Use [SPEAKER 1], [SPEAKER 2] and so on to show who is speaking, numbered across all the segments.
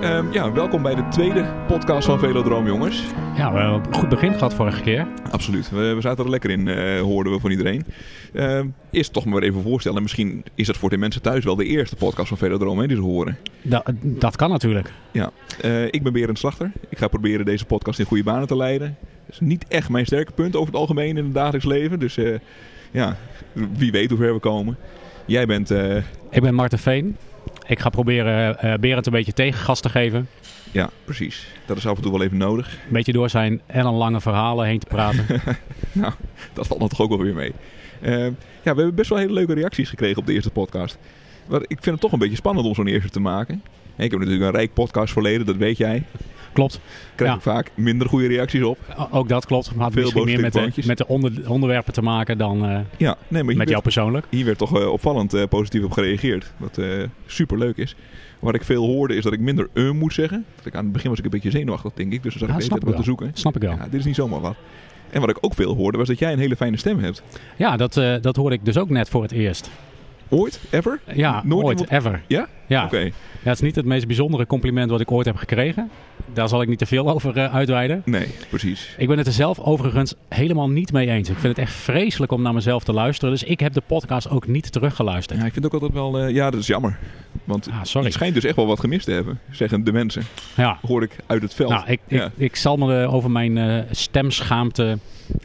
[SPEAKER 1] Ehm, ja, welkom bij de tweede podcast van Velodroom, jongens.
[SPEAKER 2] Ja, we hebben een goed begin gehad vorige keer.
[SPEAKER 1] Absoluut. We, we zaten er lekker in, eh, hoorden we van iedereen. Ehm, eerst toch maar even voorstellen. En Misschien is dat voor de mensen thuis wel de eerste podcast van Velodroom hè, die ze horen.
[SPEAKER 2] Da- dat kan natuurlijk.
[SPEAKER 1] Eh, ik ben Berend Slachter. Ik ga proberen deze podcast in goede banen te leiden. Dat is niet echt mijn sterke punt over het algemeen in het dagelijks leven. Dus eh, ja, wie weet hoe ver we komen. Jij bent... eh,
[SPEAKER 2] Ik ben Marten Veen. Ik ga proberen eh Berend een beetje tegengas te geven.
[SPEAKER 1] ja, precies. Dat is af en toe wel even nodig.
[SPEAKER 2] Een beetje door zijn ellenlange verhalen heen te praten.
[SPEAKER 1] Dat valt dan toch ook wel weer mee. Eh, ja, we hebben best wel hele leuke reacties gekregen op de eerste podcast. Maar ik vind het toch een beetje spannend om zo'n eerste te maken. En ik heb natuurlijk een rijk podcast verleden, dat weet jij.
[SPEAKER 2] klopt.
[SPEAKER 1] Krijg
[SPEAKER 2] Ja.
[SPEAKER 1] ik vaak minder goede reacties op.
[SPEAKER 2] O- Ook dat klopt. Maar had
[SPEAKER 1] Veel
[SPEAKER 2] misschien meer met de,
[SPEAKER 1] boostekoontjes.
[SPEAKER 2] met de onder- onderwerpen te maken dan eh,
[SPEAKER 1] Ja, nee, maar hier,
[SPEAKER 2] met jou
[SPEAKER 1] werd,
[SPEAKER 2] persoonlijk.
[SPEAKER 1] hier werd toch eh, opvallend eh, positief op gereageerd. Wat eh super leuk is. Wat ik veel hoorde is dat ik minder eh moet zeggen. Dat ik aan het begin was ik een beetje zenuwachtig, denk ik. Dus dan zat
[SPEAKER 2] Ja,
[SPEAKER 1] ik de
[SPEAKER 2] snap
[SPEAKER 1] hele tijd
[SPEAKER 2] ik
[SPEAKER 1] wat te zoeken.
[SPEAKER 2] Snap ik wel.
[SPEAKER 1] Ja, dit is niet zomaar wat. En wat ik ook veel hoorde was dat jij een hele fijne stem hebt.
[SPEAKER 2] Ja, dat, eh, dat hoorde ik dus ook net voor het eerst.
[SPEAKER 1] Ooit? Ever?
[SPEAKER 2] Ja,
[SPEAKER 1] Nooit
[SPEAKER 2] ooit,
[SPEAKER 1] iemand-
[SPEAKER 2] ever.
[SPEAKER 1] Ja?
[SPEAKER 2] Ja.
[SPEAKER 1] Oké.
[SPEAKER 2] Ja, het is niet het meest bijzondere compliment wat ik ooit heb gekregen. Daar zal ik niet te veel over eh, uitweiden.
[SPEAKER 1] Nee, precies.
[SPEAKER 2] Ik ben het er zelf overigens helemaal niet mee eens. Ik vind het echt vreselijk om naar mezelf te luisteren. Dus ik heb de podcast ook niet teruggeluisterd.
[SPEAKER 1] Ja, ik vind ook altijd wel... eh, ja, dat is jammer. Want
[SPEAKER 2] Ah,
[SPEAKER 1] je
[SPEAKER 2] sorry.
[SPEAKER 1] schijnt dus echt wel wat gemist te hebben, zeggen de mensen.
[SPEAKER 2] Ja.
[SPEAKER 1] Hoor ik uit het veld.
[SPEAKER 2] Nou, ik, ik,
[SPEAKER 1] Ja.
[SPEAKER 2] ik zal me eh, over mijn eh, stemschaamte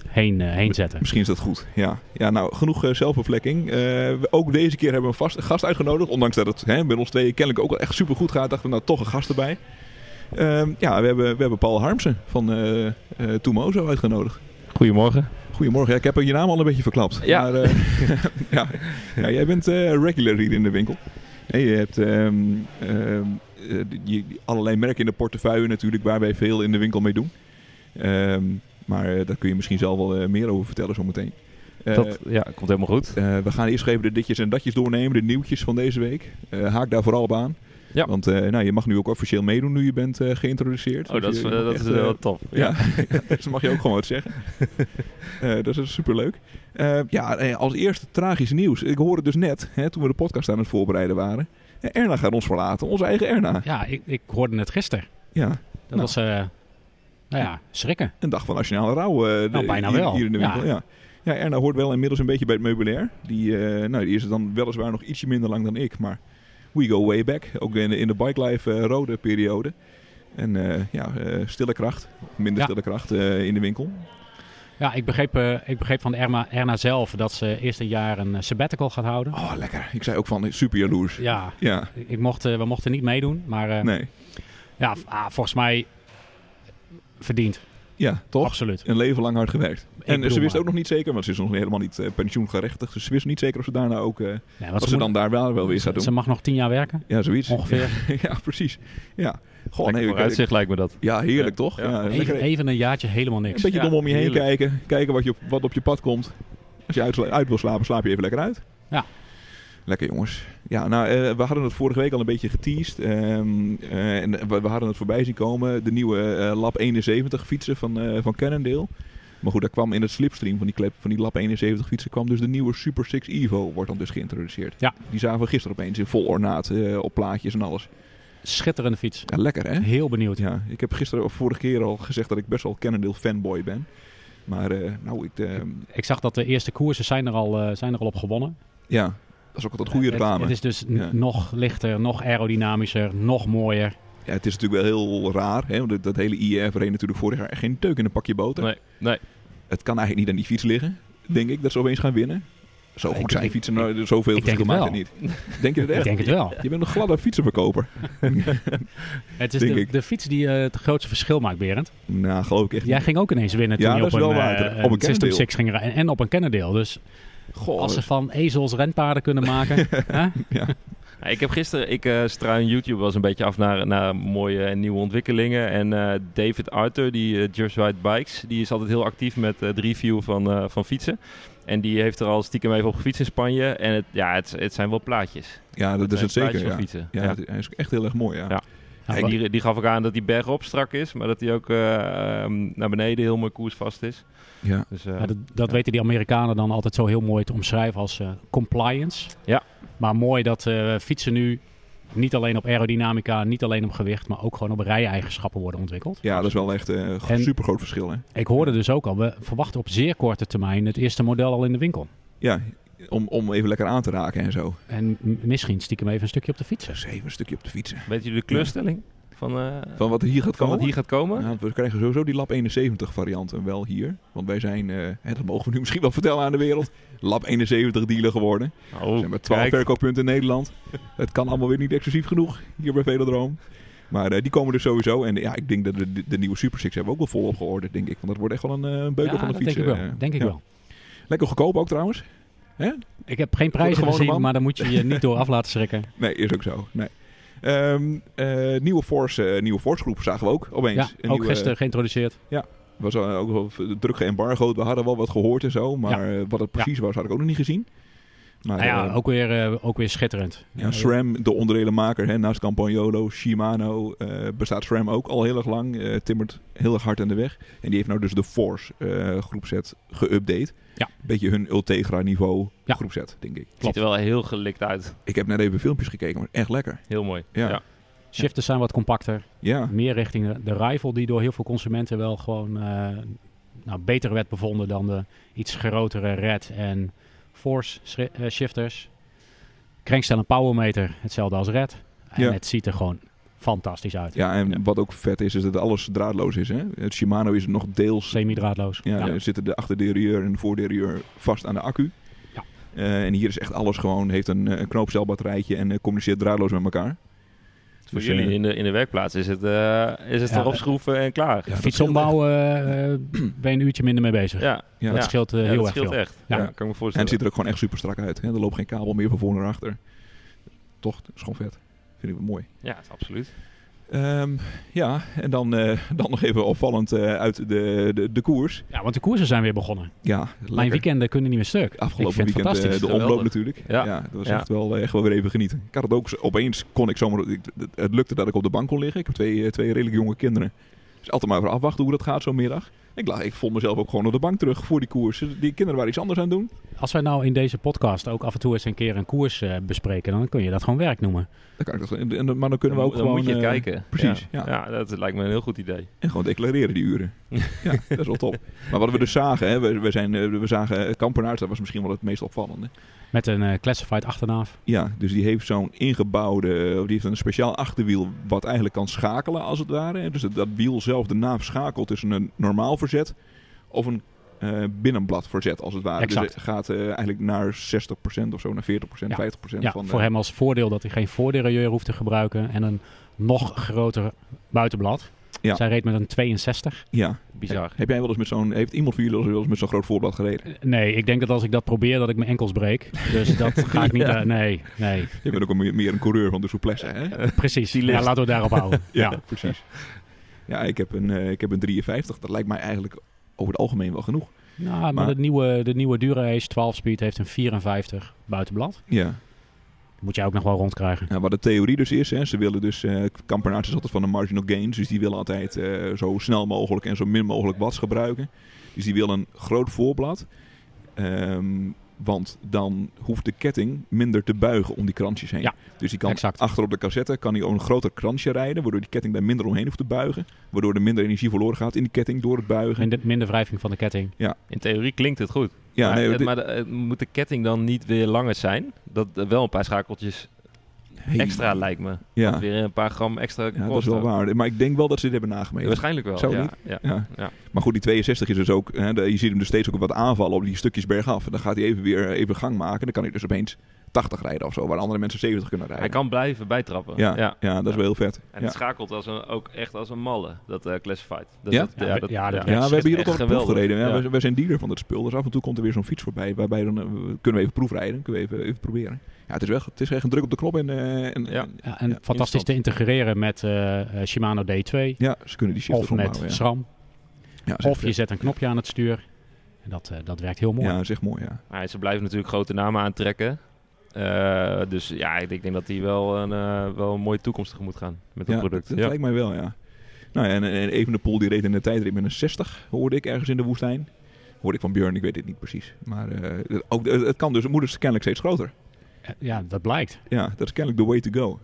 [SPEAKER 2] heen, eh, heen zetten.
[SPEAKER 1] Misschien is dat goed. Ja, ja nou, genoeg eh, zelfbevlekking. Eh, we- ook deze keer hebben we een vast, gast uitgenodigd. Ondanks dat het hè, met ons tweeën kennelijk ook wel echt super goed gaat, dachten we nou toch een gast erbij. Ehm, ja, we hebben, we hebben Paul Harmsen van eh eh Toemozo uitgenodigd.
[SPEAKER 3] Goedemorgen.
[SPEAKER 1] Goedemorgen. Ja, ik heb je naam al een beetje verklapt.
[SPEAKER 3] Ja.
[SPEAKER 1] Maar, eh, ja, ja, jij bent eh, regular hier in de winkel. En je hebt ehm, ehm, eh, die- die- allerlei merken in de portefeuille natuurlijk, waar wij veel in de winkel mee doen. Ehm, maar eh, daar kun je misschien zelf wel eh, meer over vertellen zometeen. Eh,
[SPEAKER 3] Dat ja, komt helemaal goed.
[SPEAKER 1] eh, we gaan eerst even de ditjes en datjes doornemen, de nieuwtjes van deze week. Eh, haak daar vooral op aan.
[SPEAKER 3] Ja.
[SPEAKER 1] Want eh, nou, je mag nu ook officieel meedoen nu je bent eh, geïntroduceerd.
[SPEAKER 3] Oh, dat
[SPEAKER 1] Dus
[SPEAKER 3] is,
[SPEAKER 1] je- je mag
[SPEAKER 3] dat is
[SPEAKER 1] echt,
[SPEAKER 3] eh,
[SPEAKER 1] eh,
[SPEAKER 3] wel top.
[SPEAKER 1] ja, dus dat mag je ook gewoon wat zeggen. Eh, dat is superleuk. Eh, ja, eh, als eerste tragisch nieuws. Ik hoorde dus net, hè, toen we de podcast aan het voorbereiden waren. eh, Erna gaat ons verlaten, onze eigen Erna.
[SPEAKER 2] Ja, ik, ik hoorde het gisteren.
[SPEAKER 1] Ja,
[SPEAKER 2] Dat
[SPEAKER 1] Nou.
[SPEAKER 2] was, eh, nou ja, schrikken.
[SPEAKER 1] een dag van nationale rouw eh, de-
[SPEAKER 2] Nou, bijna
[SPEAKER 1] hier,
[SPEAKER 2] wel.
[SPEAKER 1] hier in de
[SPEAKER 2] Ja.
[SPEAKER 1] winkel. Ja. Ja. Erna hoort wel inmiddels een beetje bij het meubilair. Die, eh, nou, die is dan weliswaar nog ietsje minder lang dan ik, maar we go way back. Ook in de, in de Bike Life eh, rode periode. En eh, ja, eh, stille kracht, of minder
[SPEAKER 2] Ja.
[SPEAKER 1] stille kracht eh, in de winkel.
[SPEAKER 2] Ja, ik begreep, eh, ik begreep van Erna, Erna zelf dat ze eerst een jaar een eh, sabbatical gaat houden.
[SPEAKER 1] Oh, lekker. Ik zei ook van, super jaloers.
[SPEAKER 2] Ja,
[SPEAKER 1] Ja,
[SPEAKER 2] ik ik mocht, eh, we mochten niet meedoen. Maar eh,
[SPEAKER 1] nee.
[SPEAKER 2] ja, v- ah, volgens mij verdiend.
[SPEAKER 1] Ja, toch?
[SPEAKER 2] Absoluut.
[SPEAKER 1] Een leven lang hard gewerkt. En
[SPEAKER 2] bedoel
[SPEAKER 1] ze wist
[SPEAKER 2] maar.
[SPEAKER 1] ook nog niet zeker, want ze is nog helemaal niet eh, pensioengerechtigd. Dus ze wist niet zeker of ze daarna ook, eh,
[SPEAKER 2] Nee,
[SPEAKER 1] wat
[SPEAKER 2] want
[SPEAKER 1] ze,
[SPEAKER 2] moet-
[SPEAKER 1] dan daar wel, wel weer gaat
[SPEAKER 2] Ze
[SPEAKER 1] doen.
[SPEAKER 2] mag nog tien jaar werken,
[SPEAKER 1] Ja, zoiets.
[SPEAKER 2] ongeveer.
[SPEAKER 1] ja, precies. Ja, gewoon
[SPEAKER 3] Lekker vooruitzicht lijkt me dat.
[SPEAKER 1] Ja, heerlijk toch?
[SPEAKER 3] Ja.
[SPEAKER 1] Ja, lekker-
[SPEAKER 2] Even, even een jaartje helemaal
[SPEAKER 1] een
[SPEAKER 2] niks.
[SPEAKER 1] beetje
[SPEAKER 3] Ja,
[SPEAKER 1] dom om je heen
[SPEAKER 3] heerlijk.
[SPEAKER 1] kijken. Kijken wat, je, op- wat op je pad komt. Als je uit, uit wil slapen, slaap je even lekker uit.
[SPEAKER 2] Ja.
[SPEAKER 1] Lekker jongens. Ja, nou, eh, we hadden het vorige week al een beetje geteased. Ehm, eh, en we, we hadden het voorbij zien komen. De nieuwe eh, Lab 71 fietsen van, eh van Cannondale. Maar goed, daar kwam in het slipstream van die, klep, van die Lab 71 fietsen... kwam dus de nieuwe Super 6 Evo, wordt dan dus geïntroduceerd.
[SPEAKER 2] Ja.
[SPEAKER 1] Die zagen we gisteren opeens in vol ornaat, eh, op plaatjes en alles.
[SPEAKER 2] Schitterende fiets.
[SPEAKER 1] Ja, lekker hè?
[SPEAKER 2] Heel benieuwd.
[SPEAKER 1] Ja, ik heb gisteren of vorige keer al gezegd dat ik best wel Cannondale fanboy ben. Maar eh, nou, ik, eh,
[SPEAKER 2] Ik zag dat de eerste koersen zijn er al, eh, zijn er al op gewonnen.
[SPEAKER 1] ja, dat is ook altijd goede
[SPEAKER 2] Het-
[SPEAKER 1] reclame.
[SPEAKER 2] Het, is dus n-
[SPEAKER 1] Ja.
[SPEAKER 2] nog lichter, nog aerodynamischer, nog mooier.
[SPEAKER 1] ja, het is natuurlijk wel heel raar, hè, want dat, dat hele IEF reed natuurlijk vorig jaar echt geen deuk in een pakje boter.
[SPEAKER 3] Nee, nee.
[SPEAKER 1] Het kan eigenlijk niet aan die fiets liggen, denk ik, dat ze opeens gaan winnen. Zo
[SPEAKER 2] Hm. Ik-
[SPEAKER 1] goed zijn
[SPEAKER 2] ik-
[SPEAKER 1] fietsen, nou, zoveel
[SPEAKER 2] ik denk
[SPEAKER 1] verschil
[SPEAKER 2] het
[SPEAKER 1] maakt het niet. Denk je dat
[SPEAKER 2] Ik
[SPEAKER 1] echt?
[SPEAKER 2] denk het wel.
[SPEAKER 1] Je bent een gladde fietsenverkoper.
[SPEAKER 2] Het is
[SPEAKER 1] Denk
[SPEAKER 2] de,
[SPEAKER 1] ik.
[SPEAKER 2] de fiets die eh, het grootste verschil maakt, Berend.
[SPEAKER 1] nou, geloof ik echt
[SPEAKER 2] Jij
[SPEAKER 1] niet.
[SPEAKER 2] ging ook ineens winnen toen
[SPEAKER 1] Ja,
[SPEAKER 2] je
[SPEAKER 1] dat
[SPEAKER 2] op
[SPEAKER 1] is
[SPEAKER 2] een,
[SPEAKER 1] wel waar. Op
[SPEAKER 2] eh,
[SPEAKER 1] een
[SPEAKER 2] een System
[SPEAKER 1] Cannondale.
[SPEAKER 2] 6 ging rijden. En op een Cannondale. Dus
[SPEAKER 1] Goh,
[SPEAKER 2] als ze van ezels renpaarden kunnen maken. hè?
[SPEAKER 1] ja.
[SPEAKER 3] Ja, ik heb gisteren, ik eh struin YouTube was een beetje af naar, naar mooie en nieuwe ontwikkelingen. En eh, David Arthur, die eh, Just Ride Bikes, die is altijd heel actief met eh, het review van, eh, van fietsen. En die heeft er al stiekem even op gefietst in Spanje. En het, ja, het, het zijn wel plaatjes.
[SPEAKER 1] ja, dat is het
[SPEAKER 3] zijn
[SPEAKER 1] zeker.
[SPEAKER 3] plaatjes van
[SPEAKER 1] Ja.
[SPEAKER 3] fietsen.
[SPEAKER 1] Ja,
[SPEAKER 3] Ja.
[SPEAKER 1] het- hij is echt heel erg mooi. Ja.
[SPEAKER 3] Ja.
[SPEAKER 2] Nou,
[SPEAKER 3] En die, die gaf ook aan dat die bergop strak is, maar dat hij ook eh, ehm, naar beneden heel mooi koersvast is.
[SPEAKER 1] ja.
[SPEAKER 3] Dus, eh,
[SPEAKER 2] Ja, dat dat weten die Amerikanen dan altijd zo heel mooi te omschrijven als eh, compliance.
[SPEAKER 3] Ja.
[SPEAKER 2] Maar mooi dat eh, fietsen nu niet alleen op aerodynamica, niet alleen op gewicht, maar ook gewoon op rij-eigenschappen worden ontwikkeld.
[SPEAKER 1] Ja, dat is wel echt een
[SPEAKER 2] En-
[SPEAKER 1] super groot verschil. Hè?
[SPEAKER 2] Ik hoorde dus ook al, we verwachten op zeer korte termijn het eerste model al in de winkel.
[SPEAKER 1] Ja, om, om even lekker aan te raken en zo.
[SPEAKER 2] En m- misschien stiekem even een stukje op de fiets.
[SPEAKER 1] Dus even een stukje op de fietsen.
[SPEAKER 3] Weet je de kleurstelling van, eh,
[SPEAKER 1] Van wat er hier gaat
[SPEAKER 3] van
[SPEAKER 1] komen.
[SPEAKER 3] wat hier gaat komen?
[SPEAKER 1] Ja, we krijgen sowieso die Lab 71 varianten wel hier. Want wij zijn, eh, hè, dat mogen we nu misschien wel vertellen aan de wereld, Lab 71 dealer geworden.
[SPEAKER 3] Oh,
[SPEAKER 1] Er zijn maar 12
[SPEAKER 3] kijk.
[SPEAKER 1] verkooppunten in Nederland. Het kan allemaal weer niet exclusief genoeg hier bij Velodroom. Maar eh, die komen er sowieso. En eh, ja, ik denk dat de, de nieuwe Super Six hebben we ook wel volop georderd, denk ik. Want dat wordt echt wel een, eh, een beuker
[SPEAKER 2] Ja,
[SPEAKER 1] van de
[SPEAKER 2] dat
[SPEAKER 1] fietsen.
[SPEAKER 2] Denk ik wel.
[SPEAKER 1] eh.
[SPEAKER 2] Denk ik
[SPEAKER 1] Ja.
[SPEAKER 2] wel.
[SPEAKER 1] Lekker goedkoop ook trouwens.
[SPEAKER 2] Ik heb geen
[SPEAKER 1] Voor de
[SPEAKER 2] prijzen
[SPEAKER 1] gewone
[SPEAKER 2] gezien,
[SPEAKER 1] man.
[SPEAKER 2] maar daar moet je je niet door af laten schrikken.
[SPEAKER 1] Nee, is ook zo. Nee. Ehm, eh, nieuwe, Force, eh, nieuwe Force groep zagen we ook opeens.
[SPEAKER 2] Ja,
[SPEAKER 1] Een
[SPEAKER 2] ook
[SPEAKER 1] nieuwe- eh,
[SPEAKER 2] gisteren geïntroduceerd.
[SPEAKER 1] was eh, ook wel v- druk geëmbargoed. We hadden wel wat gehoord en zo, maar eh, wat het precies was, had ik ook nog niet gezien. Maar
[SPEAKER 2] Nou ja,
[SPEAKER 1] eh,
[SPEAKER 2] ook weer, eh, ook weer schitterend.
[SPEAKER 1] ja, SRAM, de onderdelenmaker, hè, naast Campagnolo, Shimano, eh, bestaat SRAM ook al heel erg lang. eh, timmert heel erg hard aan de weg. En die heeft nou dus de Force eh, groepset geüpdate.
[SPEAKER 2] Ja.
[SPEAKER 1] Beetje hun Ultegra niveau
[SPEAKER 2] Ja.
[SPEAKER 1] groepset, denk ik.
[SPEAKER 3] Ziet er wel heel gelikt uit.
[SPEAKER 1] Ik heb net even filmpjes gekeken, maar echt lekker.
[SPEAKER 3] Heel mooi.
[SPEAKER 1] Ja.
[SPEAKER 2] Shifters zijn wat compacter.
[SPEAKER 1] Ja,
[SPEAKER 2] Meer richting de, de rifle, die door heel veel consumenten wel gewoon eh, nou, beter werd bevonden dan de iets grotere red en force schri- eh, shifters. Crankstel en powermeter, hetzelfde als red. En
[SPEAKER 1] Ja.
[SPEAKER 2] het ziet er gewoon fantastisch uit.
[SPEAKER 1] ja en
[SPEAKER 3] Ja.
[SPEAKER 1] wat ook vet is, is dat alles draadloos is. Hè? Het Shimano is nog deels
[SPEAKER 2] Semi-draadloos.
[SPEAKER 1] Ja,
[SPEAKER 2] Ja.
[SPEAKER 1] Er zitten de achterderieur en de voorderieur vast aan de accu.
[SPEAKER 2] Ja.
[SPEAKER 1] Eh, en hier is echt alles gewoon, heeft een, eh, een knoopcelbatterijtje en eh, communiceert draadloos met elkaar.
[SPEAKER 3] Voor
[SPEAKER 1] Dus,
[SPEAKER 3] jullie
[SPEAKER 1] eh,
[SPEAKER 3] in de, in de werkplaats is het, eh is het
[SPEAKER 2] Ja,
[SPEAKER 3] erop schroeven en
[SPEAKER 1] ja,
[SPEAKER 3] klaar.
[SPEAKER 1] dat
[SPEAKER 2] Fiets
[SPEAKER 1] scheelt echt.
[SPEAKER 2] ombouwen eh, eh, ben je een uurtje minder mee bezig.
[SPEAKER 3] Ja,
[SPEAKER 1] Ja.
[SPEAKER 2] Dat
[SPEAKER 3] Ja.
[SPEAKER 2] scheelt eh,
[SPEAKER 3] Ja,
[SPEAKER 2] heel
[SPEAKER 3] dat
[SPEAKER 2] erg
[SPEAKER 3] scheelt
[SPEAKER 2] veel.
[SPEAKER 3] echt.
[SPEAKER 2] Ja.
[SPEAKER 3] Ja. kan ik me
[SPEAKER 1] En het
[SPEAKER 3] voorstellen.
[SPEAKER 1] ziet er ook gewoon echt super strak uit. Hè? Er loopt geen kabel meer van voor naar achter. Toch, dat is gewoon vet. Vind ik wel mooi.
[SPEAKER 3] Ja, absoluut.
[SPEAKER 1] Ehm, ja, en dan, eh, dan nog even opvallend eh, uit de, de, de koers.
[SPEAKER 2] Ja, want de koersen zijn weer begonnen.
[SPEAKER 1] Ja, lekker.
[SPEAKER 2] Mijn weekenden kunnen niet meer stuk. ik
[SPEAKER 1] Afgelopen
[SPEAKER 2] vind het
[SPEAKER 1] weekend eh,
[SPEAKER 2] fantastisch.
[SPEAKER 1] de
[SPEAKER 3] Geweldig.
[SPEAKER 1] omloop natuurlijk.
[SPEAKER 3] Ja.
[SPEAKER 1] Ja. dat was
[SPEAKER 3] Ja.
[SPEAKER 1] echt, wel, eh, echt wel weer even genieten. Ik had het ook, z- opeens kon ik zomaar, ik- het- het lukte dat ik op de bank kon liggen. Ik heb twee, eh, twee redelijk jonge kinderen. Dus altijd maar even afwachten hoe dat gaat zo'n middag. Ik, lag, ik vond mezelf ook gewoon op de bank terug voor die koers. Dus Die kinderen waren iets anders aan het doen.
[SPEAKER 2] Als wij nou in deze podcast ook af en toe eens een keer een koers eh, bespreken, dan kun je dat gewoon werk noemen.
[SPEAKER 1] Dan kan ik dat, en- en- maar dan kunnen we ook
[SPEAKER 3] dan
[SPEAKER 1] gewoon...
[SPEAKER 3] moet je het
[SPEAKER 1] eh,
[SPEAKER 3] kijken.
[SPEAKER 1] precies,
[SPEAKER 3] Ja.
[SPEAKER 1] ja.
[SPEAKER 3] Ja, dat lijkt me een heel goed idee.
[SPEAKER 1] En gewoon declareren die uren. ja, dat is wel top. Maar wat we dus zagen, hè, we, we, zijn, eh, we zagen Kampenaars, dat was misschien wel het meest opvallende.
[SPEAKER 2] Met een eh, classified achternaaf.
[SPEAKER 1] Ja, dus die heeft zo'n ingebouwde, of die heeft een speciaal achterwiel wat eigenlijk kan schakelen als het ware. Dus dat, dat wiel zelf de naaf schakelt tussen een normaal verzet of een eh, binnenblad verzet als het ware.
[SPEAKER 2] Exact.
[SPEAKER 1] Dus het gaat eh, eigenlijk naar 60% of zo, naar 40%, 50%
[SPEAKER 2] Ja,
[SPEAKER 1] van de-
[SPEAKER 2] voor hem als voordeel dat hij geen voorderailleur hoeft te gebruiken en een nog groter buitenblad.
[SPEAKER 1] Ja.
[SPEAKER 2] Zij reed met een 62.
[SPEAKER 1] Ja.
[SPEAKER 3] Bizar.
[SPEAKER 1] Heb jij wel eens met zo'n, heeft iemand van jullie wel eens met zo'n groot voorblad gereden?
[SPEAKER 2] Nee, ik denk dat als ik dat probeer, dat ik mijn enkels breek. Dus dat ga ik niet... eh, nee, nee.
[SPEAKER 1] Je bent ook een, meer- meer een coureur van de souplesse, hè?
[SPEAKER 2] Precies.
[SPEAKER 3] Die
[SPEAKER 2] Ja,
[SPEAKER 3] list.
[SPEAKER 2] laten we daarop houden. ja.
[SPEAKER 1] precies. Ja, ik heb, een, eh, ik heb een 53. Dat lijkt mij eigenlijk over het algemeen wel genoeg.
[SPEAKER 2] Nou, maar,
[SPEAKER 1] Maar-
[SPEAKER 2] de nieuwe, de nieuwe Dura Ace 12-speed heeft een 54 buitenblad.
[SPEAKER 1] Ja.
[SPEAKER 2] Moet jij ook nog wel rondkrijgen.
[SPEAKER 1] Ja, wat de theorie dus is, hè, ze willen dus, eh Kampenaerts is altijd van de marginal gains, dus die willen altijd eh, zo snel mogelijk en zo min mogelijk watts gebruiken. Dus die willen een groot voorblad, Ehm, want dan hoeft de ketting minder te buigen om die krantjes heen.
[SPEAKER 2] Ja,
[SPEAKER 1] dus die kan
[SPEAKER 2] exact.
[SPEAKER 1] achter op de cassette kan hij ook een groter krantje rijden, waardoor die ketting daar minder omheen hoeft te buigen, waardoor er minder energie verloren gaat in die ketting door het buigen.
[SPEAKER 2] Minder, minder wrijving van de ketting.
[SPEAKER 3] In theorie klinkt het goed.
[SPEAKER 1] ja,
[SPEAKER 3] maar
[SPEAKER 1] nee,
[SPEAKER 3] het-
[SPEAKER 1] dit-
[SPEAKER 3] maar de- eh, moet de ketting dan niet weer langer zijn? Dat eh, wel een paar schakeltjes
[SPEAKER 1] hey,
[SPEAKER 3] extra lijkt me.
[SPEAKER 1] Ja,
[SPEAKER 3] Weer een paar gram extra
[SPEAKER 1] ja, dat is
[SPEAKER 3] kost
[SPEAKER 1] wel
[SPEAKER 3] ook.
[SPEAKER 1] waar. Maar ik denk wel dat ze dit hebben nagemeten.
[SPEAKER 3] Waarschijnlijk wel.
[SPEAKER 1] Zou
[SPEAKER 3] ja,
[SPEAKER 1] niet?
[SPEAKER 3] ja.
[SPEAKER 1] Ja.
[SPEAKER 3] Ja.
[SPEAKER 1] Maar goed, die 62 is dus ook. Hè, de- je ziet hem dus steeds ook wat aanvallen op die stukjes bergaf. En dan gaat hij even weer even gang maken. Dan kan hij dus opeens 80 rijden of zo, waar andere mensen 70 kunnen rijden.
[SPEAKER 3] Hij kan blijven bijtrappen.
[SPEAKER 1] Ja, ja. dat is
[SPEAKER 3] Ja.
[SPEAKER 1] wel heel vet.
[SPEAKER 3] En
[SPEAKER 1] ja.
[SPEAKER 3] het schakelt als een, ook echt als een malle, dat eh, classified. Dat,
[SPEAKER 1] Ja?
[SPEAKER 3] dat-
[SPEAKER 2] Ja, we- ja, dat-
[SPEAKER 1] Ja, we hebben hier ook al
[SPEAKER 3] Echt
[SPEAKER 1] een proef
[SPEAKER 3] geweldig.
[SPEAKER 1] gereden. Ja,
[SPEAKER 3] Ja.
[SPEAKER 1] wij- Wij zijn dealer van dat spul. Dus af en toe komt er weer zo'n fiets voorbij. Waarbij dan eh, we- kunnen we even proefrijden. Kunnen we even, even proberen. Ja, het is, wel, het is echt een druk op de knop. En, eh, en,
[SPEAKER 3] Ja.
[SPEAKER 1] en-
[SPEAKER 2] Ja, en
[SPEAKER 1] Ja,
[SPEAKER 2] fantastisch
[SPEAKER 3] instant.
[SPEAKER 2] te integreren met eh, eh, Shimano D2.
[SPEAKER 1] ja, ze kunnen die shifters
[SPEAKER 2] Of met
[SPEAKER 1] ombouwen. Ja.
[SPEAKER 2] SRAM.
[SPEAKER 1] Ja, dat is
[SPEAKER 2] Of je
[SPEAKER 1] echt
[SPEAKER 2] zet een knopje aan het stuur. En dat, eh, dat werkt heel
[SPEAKER 1] vet.
[SPEAKER 2] mooi.
[SPEAKER 1] Ja, dat is echt mooi. Ja.
[SPEAKER 3] Maar ze blijven natuurlijk grote namen aantrekken. Eh, dus ja, ik denk- ik denk dat die wel een, eh, wel een mooie toekomst tegemoet gaan met dat
[SPEAKER 1] Ja,
[SPEAKER 3] product.
[SPEAKER 1] Dat
[SPEAKER 3] ja.
[SPEAKER 1] lijkt mij wel, ja. Nou ja, en, en even de pool die reed in de tijdrit met een 60, hoorde ik ergens in de woestijn. Hoorde ik van Björn, ik weet dit niet precies. Maar eh, het- ook, het, het kan dus, het moet dus kennelijk steeds groter.
[SPEAKER 2] Eh, Ja, dat blijkt.
[SPEAKER 1] Ja, dat is kennelijk the way to go.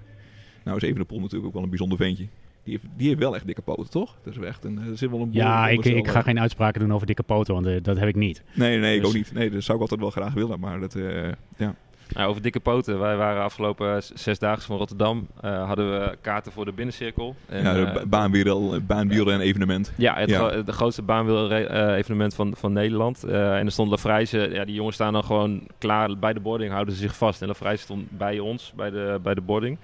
[SPEAKER 1] Nou is Evenepoel natuurlijk ook wel een bijzonder ventje. Die heeft, die heeft wel echt dikke poten, toch? Dat is echt een, eh, er zit wel een boel
[SPEAKER 2] Ja, ik,
[SPEAKER 1] onderstel
[SPEAKER 2] ik ga
[SPEAKER 1] bij.
[SPEAKER 2] geen uitspraken doen over dikke poten, want eh, dat heb ik niet.
[SPEAKER 1] Nee, nee, ik
[SPEAKER 2] dus-
[SPEAKER 1] ook niet. Nee, dat zou ik altijd wel graag willen, maar dat... eh, ja.
[SPEAKER 3] Nou, over dikke poten. Wij waren afgelopen eh, s- zesdaags van Rotterdam. eh, hadden we kaarten voor de binnencirkel. En,
[SPEAKER 1] ja, de
[SPEAKER 3] eh,
[SPEAKER 1] ba- baanwiel- baanwielren evenement.
[SPEAKER 3] Ja, het,
[SPEAKER 1] Ja.
[SPEAKER 3] gro- het grootste baanwiel-evenement van, van Nederland. Eh, en er stond Lafrijze. Ja, die jongens staan dan gewoon klaar bij de boarding, houden ze zich vast. En Lafrijze stond bij ons, bij de, bij de boarding.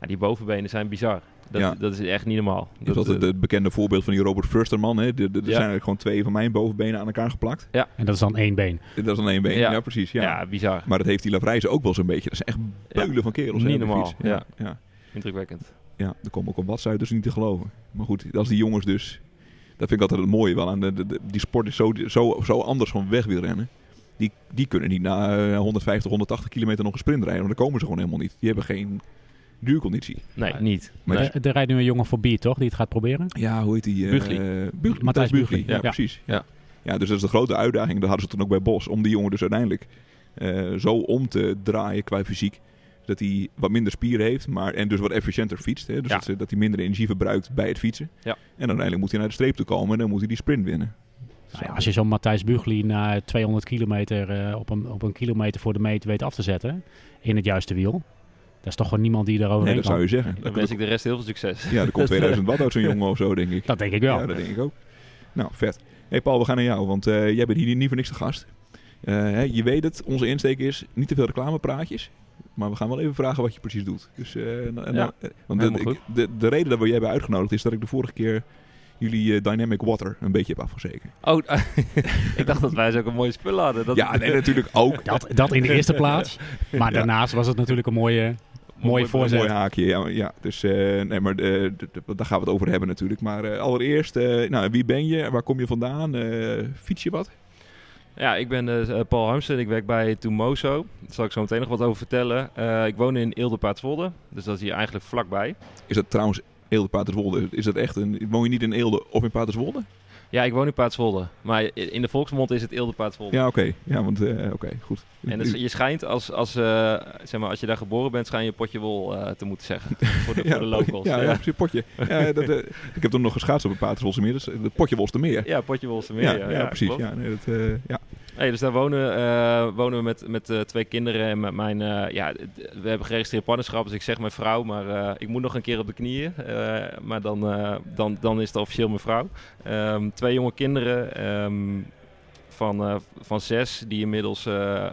[SPEAKER 3] Ja, die bovenbenen zijn bizar. Dat,
[SPEAKER 1] Ja.
[SPEAKER 3] dat is echt niet normaal.
[SPEAKER 1] Dat was
[SPEAKER 3] eh,
[SPEAKER 1] het, het bekende voorbeeld van die Robert Fursterman. Hè. Er- er- Er zijn eigenlijk gewoon twee van mijn bovenbenen aan elkaar geplakt.
[SPEAKER 2] En dat is dan één been.
[SPEAKER 1] Dat is dan één been. Ja,
[SPEAKER 3] Ja.
[SPEAKER 1] precies. Ja.
[SPEAKER 3] ja. bizar.
[SPEAKER 1] Maar dat heeft die Lavrijzen ook wel zo'n beetje. Dat zijn echt beulen van kerels. hè,
[SPEAKER 3] Niet
[SPEAKER 1] op de
[SPEAKER 3] normaal,
[SPEAKER 1] fiets. Ja. ja.
[SPEAKER 3] Indrukwekkend.
[SPEAKER 1] Ja, er komen ook een watts uit, dus niet te geloven. Maar goed, als die jongens dus... Dat vind ik altijd het mooie wel aan. De, de- de- die sport is zo, zo, zo anders van weg wil rennen. Die, die kunnen niet na eh, 150, 180 kilometer nog een sprint rijden. Want dan komen ze gewoon helemaal niet. Die hebben geen duurconditie.
[SPEAKER 3] Nee,
[SPEAKER 2] Maar-
[SPEAKER 3] niet.
[SPEAKER 1] Maar
[SPEAKER 3] Nee.
[SPEAKER 2] Er, Eh, er rijdt nu een jongen voor bier, toch? Die het gaat proberen.
[SPEAKER 1] Ja, hoe heet die? eh,
[SPEAKER 3] Bugli.
[SPEAKER 1] eh,
[SPEAKER 2] Matthijs
[SPEAKER 1] Bugli.
[SPEAKER 2] Bugli,
[SPEAKER 1] Ja,
[SPEAKER 2] ja.
[SPEAKER 1] precies. Ja.
[SPEAKER 3] Ja.
[SPEAKER 1] ja, dus dat is de grote uitdaging. Dat hadden ze toen ook bij Bos. Om die jongen dus uiteindelijk eh, zo om te draaien qua fysiek. Dat hij wat minder spieren heeft maar, en dus wat efficiënter fietst. Hè? Dus
[SPEAKER 3] Ja.
[SPEAKER 1] dat, ze- dat hij minder energie verbruikt bij het fietsen.
[SPEAKER 3] Ja.
[SPEAKER 1] En dan uiteindelijk moet hij naar de streep toe komen en dan moet hij die sprint winnen.
[SPEAKER 2] Nou ja, als je zo'n Matthijs Bugli na 200 kilometer eh, op, een, op een kilometer voor de meet weet af te zetten in het juiste wiel. Dat is toch gewoon niemand die eroverheen
[SPEAKER 1] nee, dat
[SPEAKER 2] kan.
[SPEAKER 1] zou je zeggen.
[SPEAKER 3] Dan
[SPEAKER 1] Dat,
[SPEAKER 3] wens ik de rest heel veel succes.
[SPEAKER 1] ja, er komt 2000 watt uit zo'n jongen of zo, denk ik.
[SPEAKER 2] Dat denk ik wel.
[SPEAKER 1] Ja, dat denk ik ook. Nou, vet. hey Paul, we gaan naar jou, want eh, jij bent hier niet voor niks te gast. Eh, hè, je weet het, onze insteek is niet te veel reclamepraatjes. Maar we gaan wel even vragen wat je precies doet. Dus, eh, en- en
[SPEAKER 3] Ja,
[SPEAKER 1] dan- eh, want de,
[SPEAKER 3] helemaal
[SPEAKER 1] ik- de, de reden dat we jij hebben uitgenodigd is dat ik de vorige keer jullie eh, Dynamic Water een beetje heb afgezeken.
[SPEAKER 3] Oh, ik dacht dat wij zo ook een mooie spul hadden. Dat
[SPEAKER 1] Ja, nee, natuurlijk ook.
[SPEAKER 2] Dat, dat in de eerste plaats. Maar
[SPEAKER 1] Ja.
[SPEAKER 2] daarnaast was het natuurlijk een mooie, mooie
[SPEAKER 1] Een
[SPEAKER 2] voorzet.
[SPEAKER 1] mooi haakje, ja. ja dus, eh, nee, maar eh, d- d- daar gaan we het over hebben natuurlijk. Maar eh, allereerst, eh, nou, wie ben je? Waar kom je vandaan? eh fiets je wat?
[SPEAKER 3] Ja, ik ben eh, Paul Harmsen. Ik werk bij Tumoso. Daar zal ik zo meteen nog wat over vertellen. Eh, ik woon in Eelde-Paatswolde. Dus dat is hier eigenlijk vlakbij.
[SPEAKER 1] Is dat trouwens Eelde Paterswolde? Is dat echt een. Woon je niet in Eelde of in Paterswolde?
[SPEAKER 3] Ja, ik woon in Paatswolde. Maar i- in de volksmond is het Eelde-Paatswolde.
[SPEAKER 1] Ja, oké. Ja, want. eh, oké, goed.
[SPEAKER 3] En dat is- je schijnt, als, als, eh, zeg maar, als je daar geboren bent, schijn je een potje wol eh, te moeten zeggen. Voor de, voor de locals.
[SPEAKER 1] Ja, ja,
[SPEAKER 3] ja.
[SPEAKER 1] precies, potje. Ja, dat, eh, ik heb toen nog geschaatst op een Paterswolse meer. Dus het potje Wolste meer.
[SPEAKER 3] Ja, potje wol is er meer. Ja, ja,
[SPEAKER 1] precies.
[SPEAKER 3] klopt.
[SPEAKER 1] Ja, nee, dat, eh, ja.
[SPEAKER 3] Hey, dus daar wonen, eh, wonen we met, met eh, twee kinderen en met mijn... eh, ja, d- we hebben geregistreerd partnerschap, dus ik zeg mijn vrouw, maar eh, ik moet nog een keer op de knieën. eh, maar dan, eh, dan, dan is het officieel mijn vrouw. Ehm, twee jonge kinderen ehm, van, eh, van zes, die inmiddels eh, eh,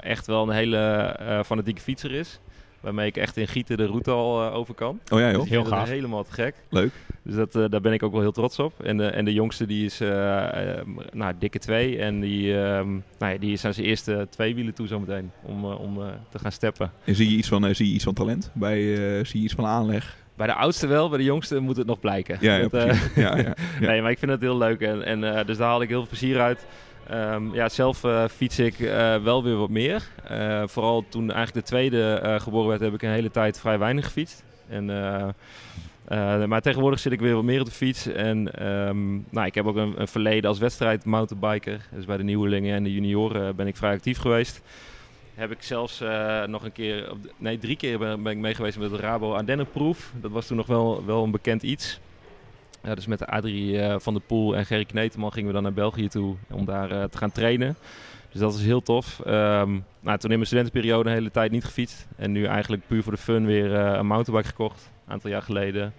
[SPEAKER 3] echt wel een hele eh, fanatieke fietser is. Waarmee ik echt in Gieten de route al eh, over kan.
[SPEAKER 1] Oh ja,
[SPEAKER 3] Dus
[SPEAKER 1] joh.
[SPEAKER 3] ik vind
[SPEAKER 2] Heel
[SPEAKER 3] het
[SPEAKER 2] gaaf.
[SPEAKER 3] Helemaal te gek.
[SPEAKER 1] Leuk.
[SPEAKER 3] Dus dat, eh, daar ben ik ook wel heel trots op. En, eh, en de jongste die is eh, eh, nou, dikke twee. En die, ehm nou ja, die is aan zijn eerste twee wielen toe zometeen. Om, eh, om eh, te gaan steppen.
[SPEAKER 1] En zie je iets van, eh, zie je iets van talent? Bij, eh, zie je iets van aanleg?
[SPEAKER 3] Bij de oudste wel, bij de jongste moet het nog blijken.
[SPEAKER 1] Ja, ja,
[SPEAKER 3] Dat, eh,
[SPEAKER 1] precies. ja, ja. Ja.
[SPEAKER 3] Nee, maar ik vind het heel leuk. En, en eh, dus daar haal ik heel veel plezier uit. Ehm, ja, zelf eh, fiets ik eh, wel weer wat meer. Eh, vooral toen eigenlijk de tweede eh, geboren werd, heb ik een hele tijd vrij weinig gefietst. En, eh, eh, maar tegenwoordig zit ik weer wat meer op de fiets. En ehm, nou, ik heb ook een, een verleden als wedstrijd mountainbiker. Dus bij de nieuwelingen en de junioren ben ik vrij actief geweest. Heb ik zelfs eh, nog een keer, op de- nee drie keer ben, ben ik mee geweest met de Rabo Ardennenproef. Dat was toen nog wel, wel een bekend iets. Ja, dus met Adrie eh, van der Poel en Gerry Kneteman gingen we dan naar België toe om daar eh, te gaan trainen. Dus dat is heel tof. Ehm, nou, toen in mijn studentenperiode een hele tijd niet gefietst. En nu eigenlijk puur voor de fun weer eh, een mountainbike gekocht. Een aantal jaar geleden.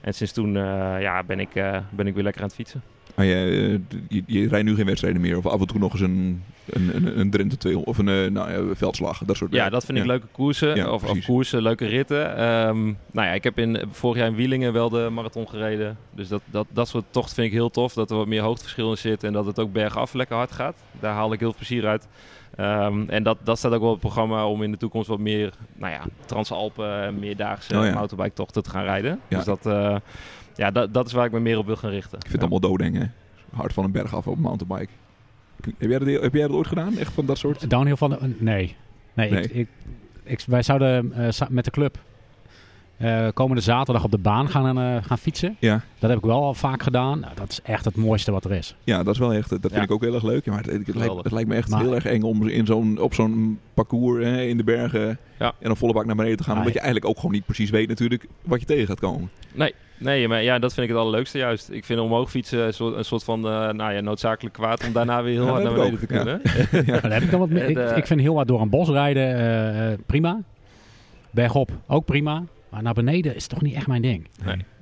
[SPEAKER 3] En sinds toen eh, ja, ben, ik, eh, ben ik weer lekker aan het fietsen.
[SPEAKER 1] Maar je, eh, d- je, je rijdt nu geen wedstrijden meer. Of af en toe nog eens een, een, een, een Drenthe 200 of een eh, nou, ja, veldslag. Dat soort
[SPEAKER 3] Ja, dat vind ik
[SPEAKER 1] Ja.
[SPEAKER 3] leuke koersen.
[SPEAKER 1] Ja,
[SPEAKER 3] of, of
[SPEAKER 1] precies.
[SPEAKER 3] koersen, leuke ritten. Ehm, nou ja, ik heb in, vorig jaar in Wielingen wel de marathon gereden. Dus dat, dat, dat soort tocht vind ik heel tof. Dat er wat meer hoogteverschil in zit. En dat het ook bergaf lekker hard gaat. Daar haal ik heel veel plezier uit. Ehm, en dat, dat staat ook wel op het programma om in de toekomst wat meer nou ja, Transalpen, en meerdaagse
[SPEAKER 1] Oh ja.
[SPEAKER 3] mountainbike tochten te gaan rijden.
[SPEAKER 1] Ja.
[SPEAKER 3] Dus dat, eh, ja, dat, dat is waar ik me meer op wil gaan richten.
[SPEAKER 1] Ik vind het allemaal doodeng, hè? Hard van een berg af op een mountainbike. Heb jij, dat, heb jij dat ooit gedaan? Echt van dat soort?
[SPEAKER 2] Downhill van... de- eh, nee. Nee,
[SPEAKER 1] Nee.
[SPEAKER 2] Ik, ik, ik- wij zouden eh, sa- met de club... eh, komende zaterdag op de baan gaan, eh, gaan fietsen.
[SPEAKER 1] Ja.
[SPEAKER 2] Dat heb ik wel al vaak gedaan. Nou, dat is echt het mooiste wat er is.
[SPEAKER 1] Ja, dat is wel echt. Dat vind
[SPEAKER 3] Ja.
[SPEAKER 1] ik ook heel erg leuk. Ja, maar het, het, lijkt,
[SPEAKER 3] Geweldig.
[SPEAKER 1] het lijkt me echt
[SPEAKER 2] Maar-
[SPEAKER 1] heel erg eng om in zo'n, op zo'n parcours hè, in de bergen
[SPEAKER 3] Ja.
[SPEAKER 1] en dan volle bak naar beneden te gaan.
[SPEAKER 2] Ah,
[SPEAKER 1] omdat je eigenlijk ook gewoon niet precies weet natuurlijk wat je tegen gaat komen.
[SPEAKER 3] Nee, maar ja, dat vind ik het allerleukste juist. Ik vind omhoog fietsen een soort, een soort van eh, nou ja, noodzakelijk kwaad om daarna weer heel
[SPEAKER 1] Ja,
[SPEAKER 3] hard
[SPEAKER 1] dat
[SPEAKER 3] naar
[SPEAKER 1] heb
[SPEAKER 3] beneden
[SPEAKER 1] ik
[SPEAKER 3] te kunnen.
[SPEAKER 2] Ja, daar heb ik, dan wat mee.
[SPEAKER 3] En,
[SPEAKER 2] ik,
[SPEAKER 3] eh,
[SPEAKER 2] ik vind heel hard door een bos rijden eh, eh, prima. Bergop ook prima. Maar naar beneden is toch niet echt mijn ding.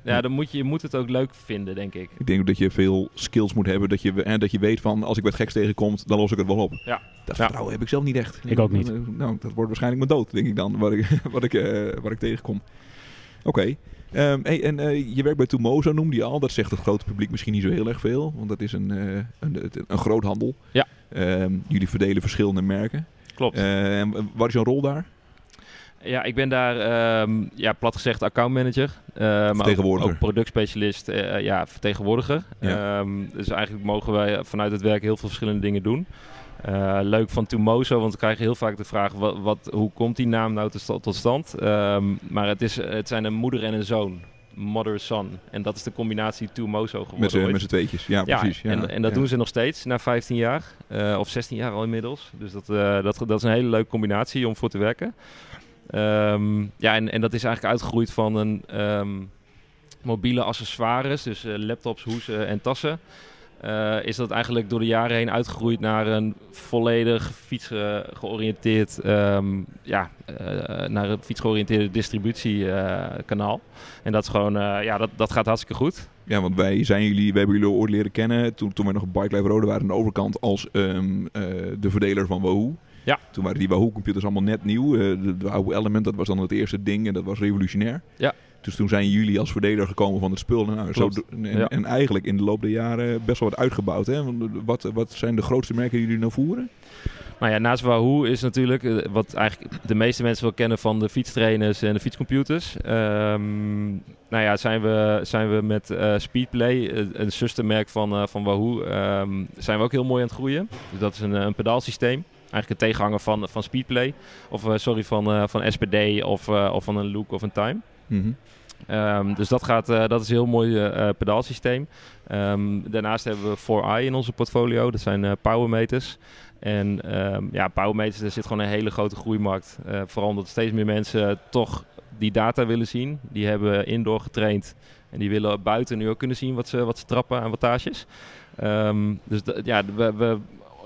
[SPEAKER 3] Ja, dan moet je, je moet het ook leuk vinden, denk ik.
[SPEAKER 1] Ik denk dat je veel skills moet hebben. Dat je, hè, dat je weet van als ik wat geks tegenkomt, dan los ik het wel op.
[SPEAKER 3] Ja.
[SPEAKER 1] Dat
[SPEAKER 3] Ja.
[SPEAKER 1] vertrouwen heb ik zelf niet echt.
[SPEAKER 2] Ik ook niet.
[SPEAKER 1] Nou, dat wordt waarschijnlijk mijn dood, denk ik dan, wat ik, wat ik, eh, wat ik tegenkom. Oké. Ehm, hey, en eh, je werkt bij Tumoza, noemde je al. Dat zegt het grote publiek misschien niet zo heel erg veel. Want dat is een, eh, een, een groot handel.
[SPEAKER 3] Ja.
[SPEAKER 1] Ehm, jullie verdelen verschillende merken.
[SPEAKER 3] Klopt.
[SPEAKER 1] Eh, en wat is jouw rol daar?
[SPEAKER 3] Ja, ik ben daar, ehm, ja, plat gezegd, accountmanager. eh, maar ook,
[SPEAKER 1] Vertegenwoordiger.
[SPEAKER 3] ook productspecialist, eh, ja, vertegenwoordiger.
[SPEAKER 1] Ja.
[SPEAKER 3] Ehm, dus eigenlijk mogen wij vanuit het werk heel veel verschillende dingen doen. Eh, leuk van Tumoso, want we krijgen heel vaak de vraag: wat, wat, hoe komt die naam nou te sta- tot stand? Ehm, maar het, is, het zijn een moeder en een zoon. Mother son. En dat is de combinatie Tumoso geworden.
[SPEAKER 1] Met z'n
[SPEAKER 3] ooit.
[SPEAKER 1] met z'n tweetjes. Ja,
[SPEAKER 3] Ja,
[SPEAKER 1] precies. Ja.
[SPEAKER 3] en, en dat
[SPEAKER 1] Ja.
[SPEAKER 3] doen ze nog steeds na 15 jaar. eh, of 16 jaar al inmiddels. Dus dat, eh, dat, dat is een hele leuke combinatie om voor te werken. Ehm, ja, en, en dat is eigenlijk uitgegroeid van een ehm, mobiele accessoires. Dus eh, laptops, hoesen en tassen. eh, is dat eigenlijk door de jaren heen uitgegroeid naar een volledig fiets eh, georiënteerd, ehm, ja, eh, naar een fietsgeoriënteerde distributiekanaal. en dat is gewoon, eh, ja, dat, dat gaat hartstikke goed.
[SPEAKER 1] Ja, want wij zijn jullie, we hebben jullie ooit leren kennen toen, toen wij nog op Bike Life Rode waren aan de overkant als ehm, eh, de verdeler van Wahoo.
[SPEAKER 3] Ja.
[SPEAKER 1] Toen waren die Wahoo-computers allemaal net nieuw. Eh, de, de Wahoo Element, dat was dan het eerste ding en dat was revolutionair.
[SPEAKER 3] Ja.
[SPEAKER 1] Dus toen zijn jullie als verdeler gekomen van het spul. Nou, zo,
[SPEAKER 3] Klopt.
[SPEAKER 1] do- en,
[SPEAKER 3] Ja.
[SPEAKER 1] en eigenlijk in de loop der jaren best wel wat uitgebouwd. Hè? Want Wat, wat zijn de grootste merken die jullie nou voeren?
[SPEAKER 3] Nou ja, naast Wahoo is natuurlijk eh, wat eigenlijk de meeste mensen wel kennen van de fietstrainers en de fietscomputers. Ehm, nou ja, zijn we, zijn we met eh, Speedplay, eh, een zustermerk van, eh, van Wahoo, ehm, zijn we ook heel mooi aan het groeien. Dus dat is een, eh, een pedaalsysteem. Eigenlijk een tegenhanger van, van Speedplay. Of eh, sorry, van, eh, van SPD of, eh, of van een Look of een Time. Ehm, dus dat, gaat, eh, dat is een heel mooi eh, eh, pedaalsysteem. Ehm, daarnaast hebben we 4i in onze portfolio. Dat zijn eh, powermeters. En ehm, ja, powermeters, daar zit gewoon een hele grote groeimarkt. Eh, vooral omdat steeds meer mensen eh, toch die data willen zien. Die hebben indoor getraind. En die willen buiten nu ook kunnen zien wat ze, wat ze trappen aan wattages. Ehm, dus d- ja, we, we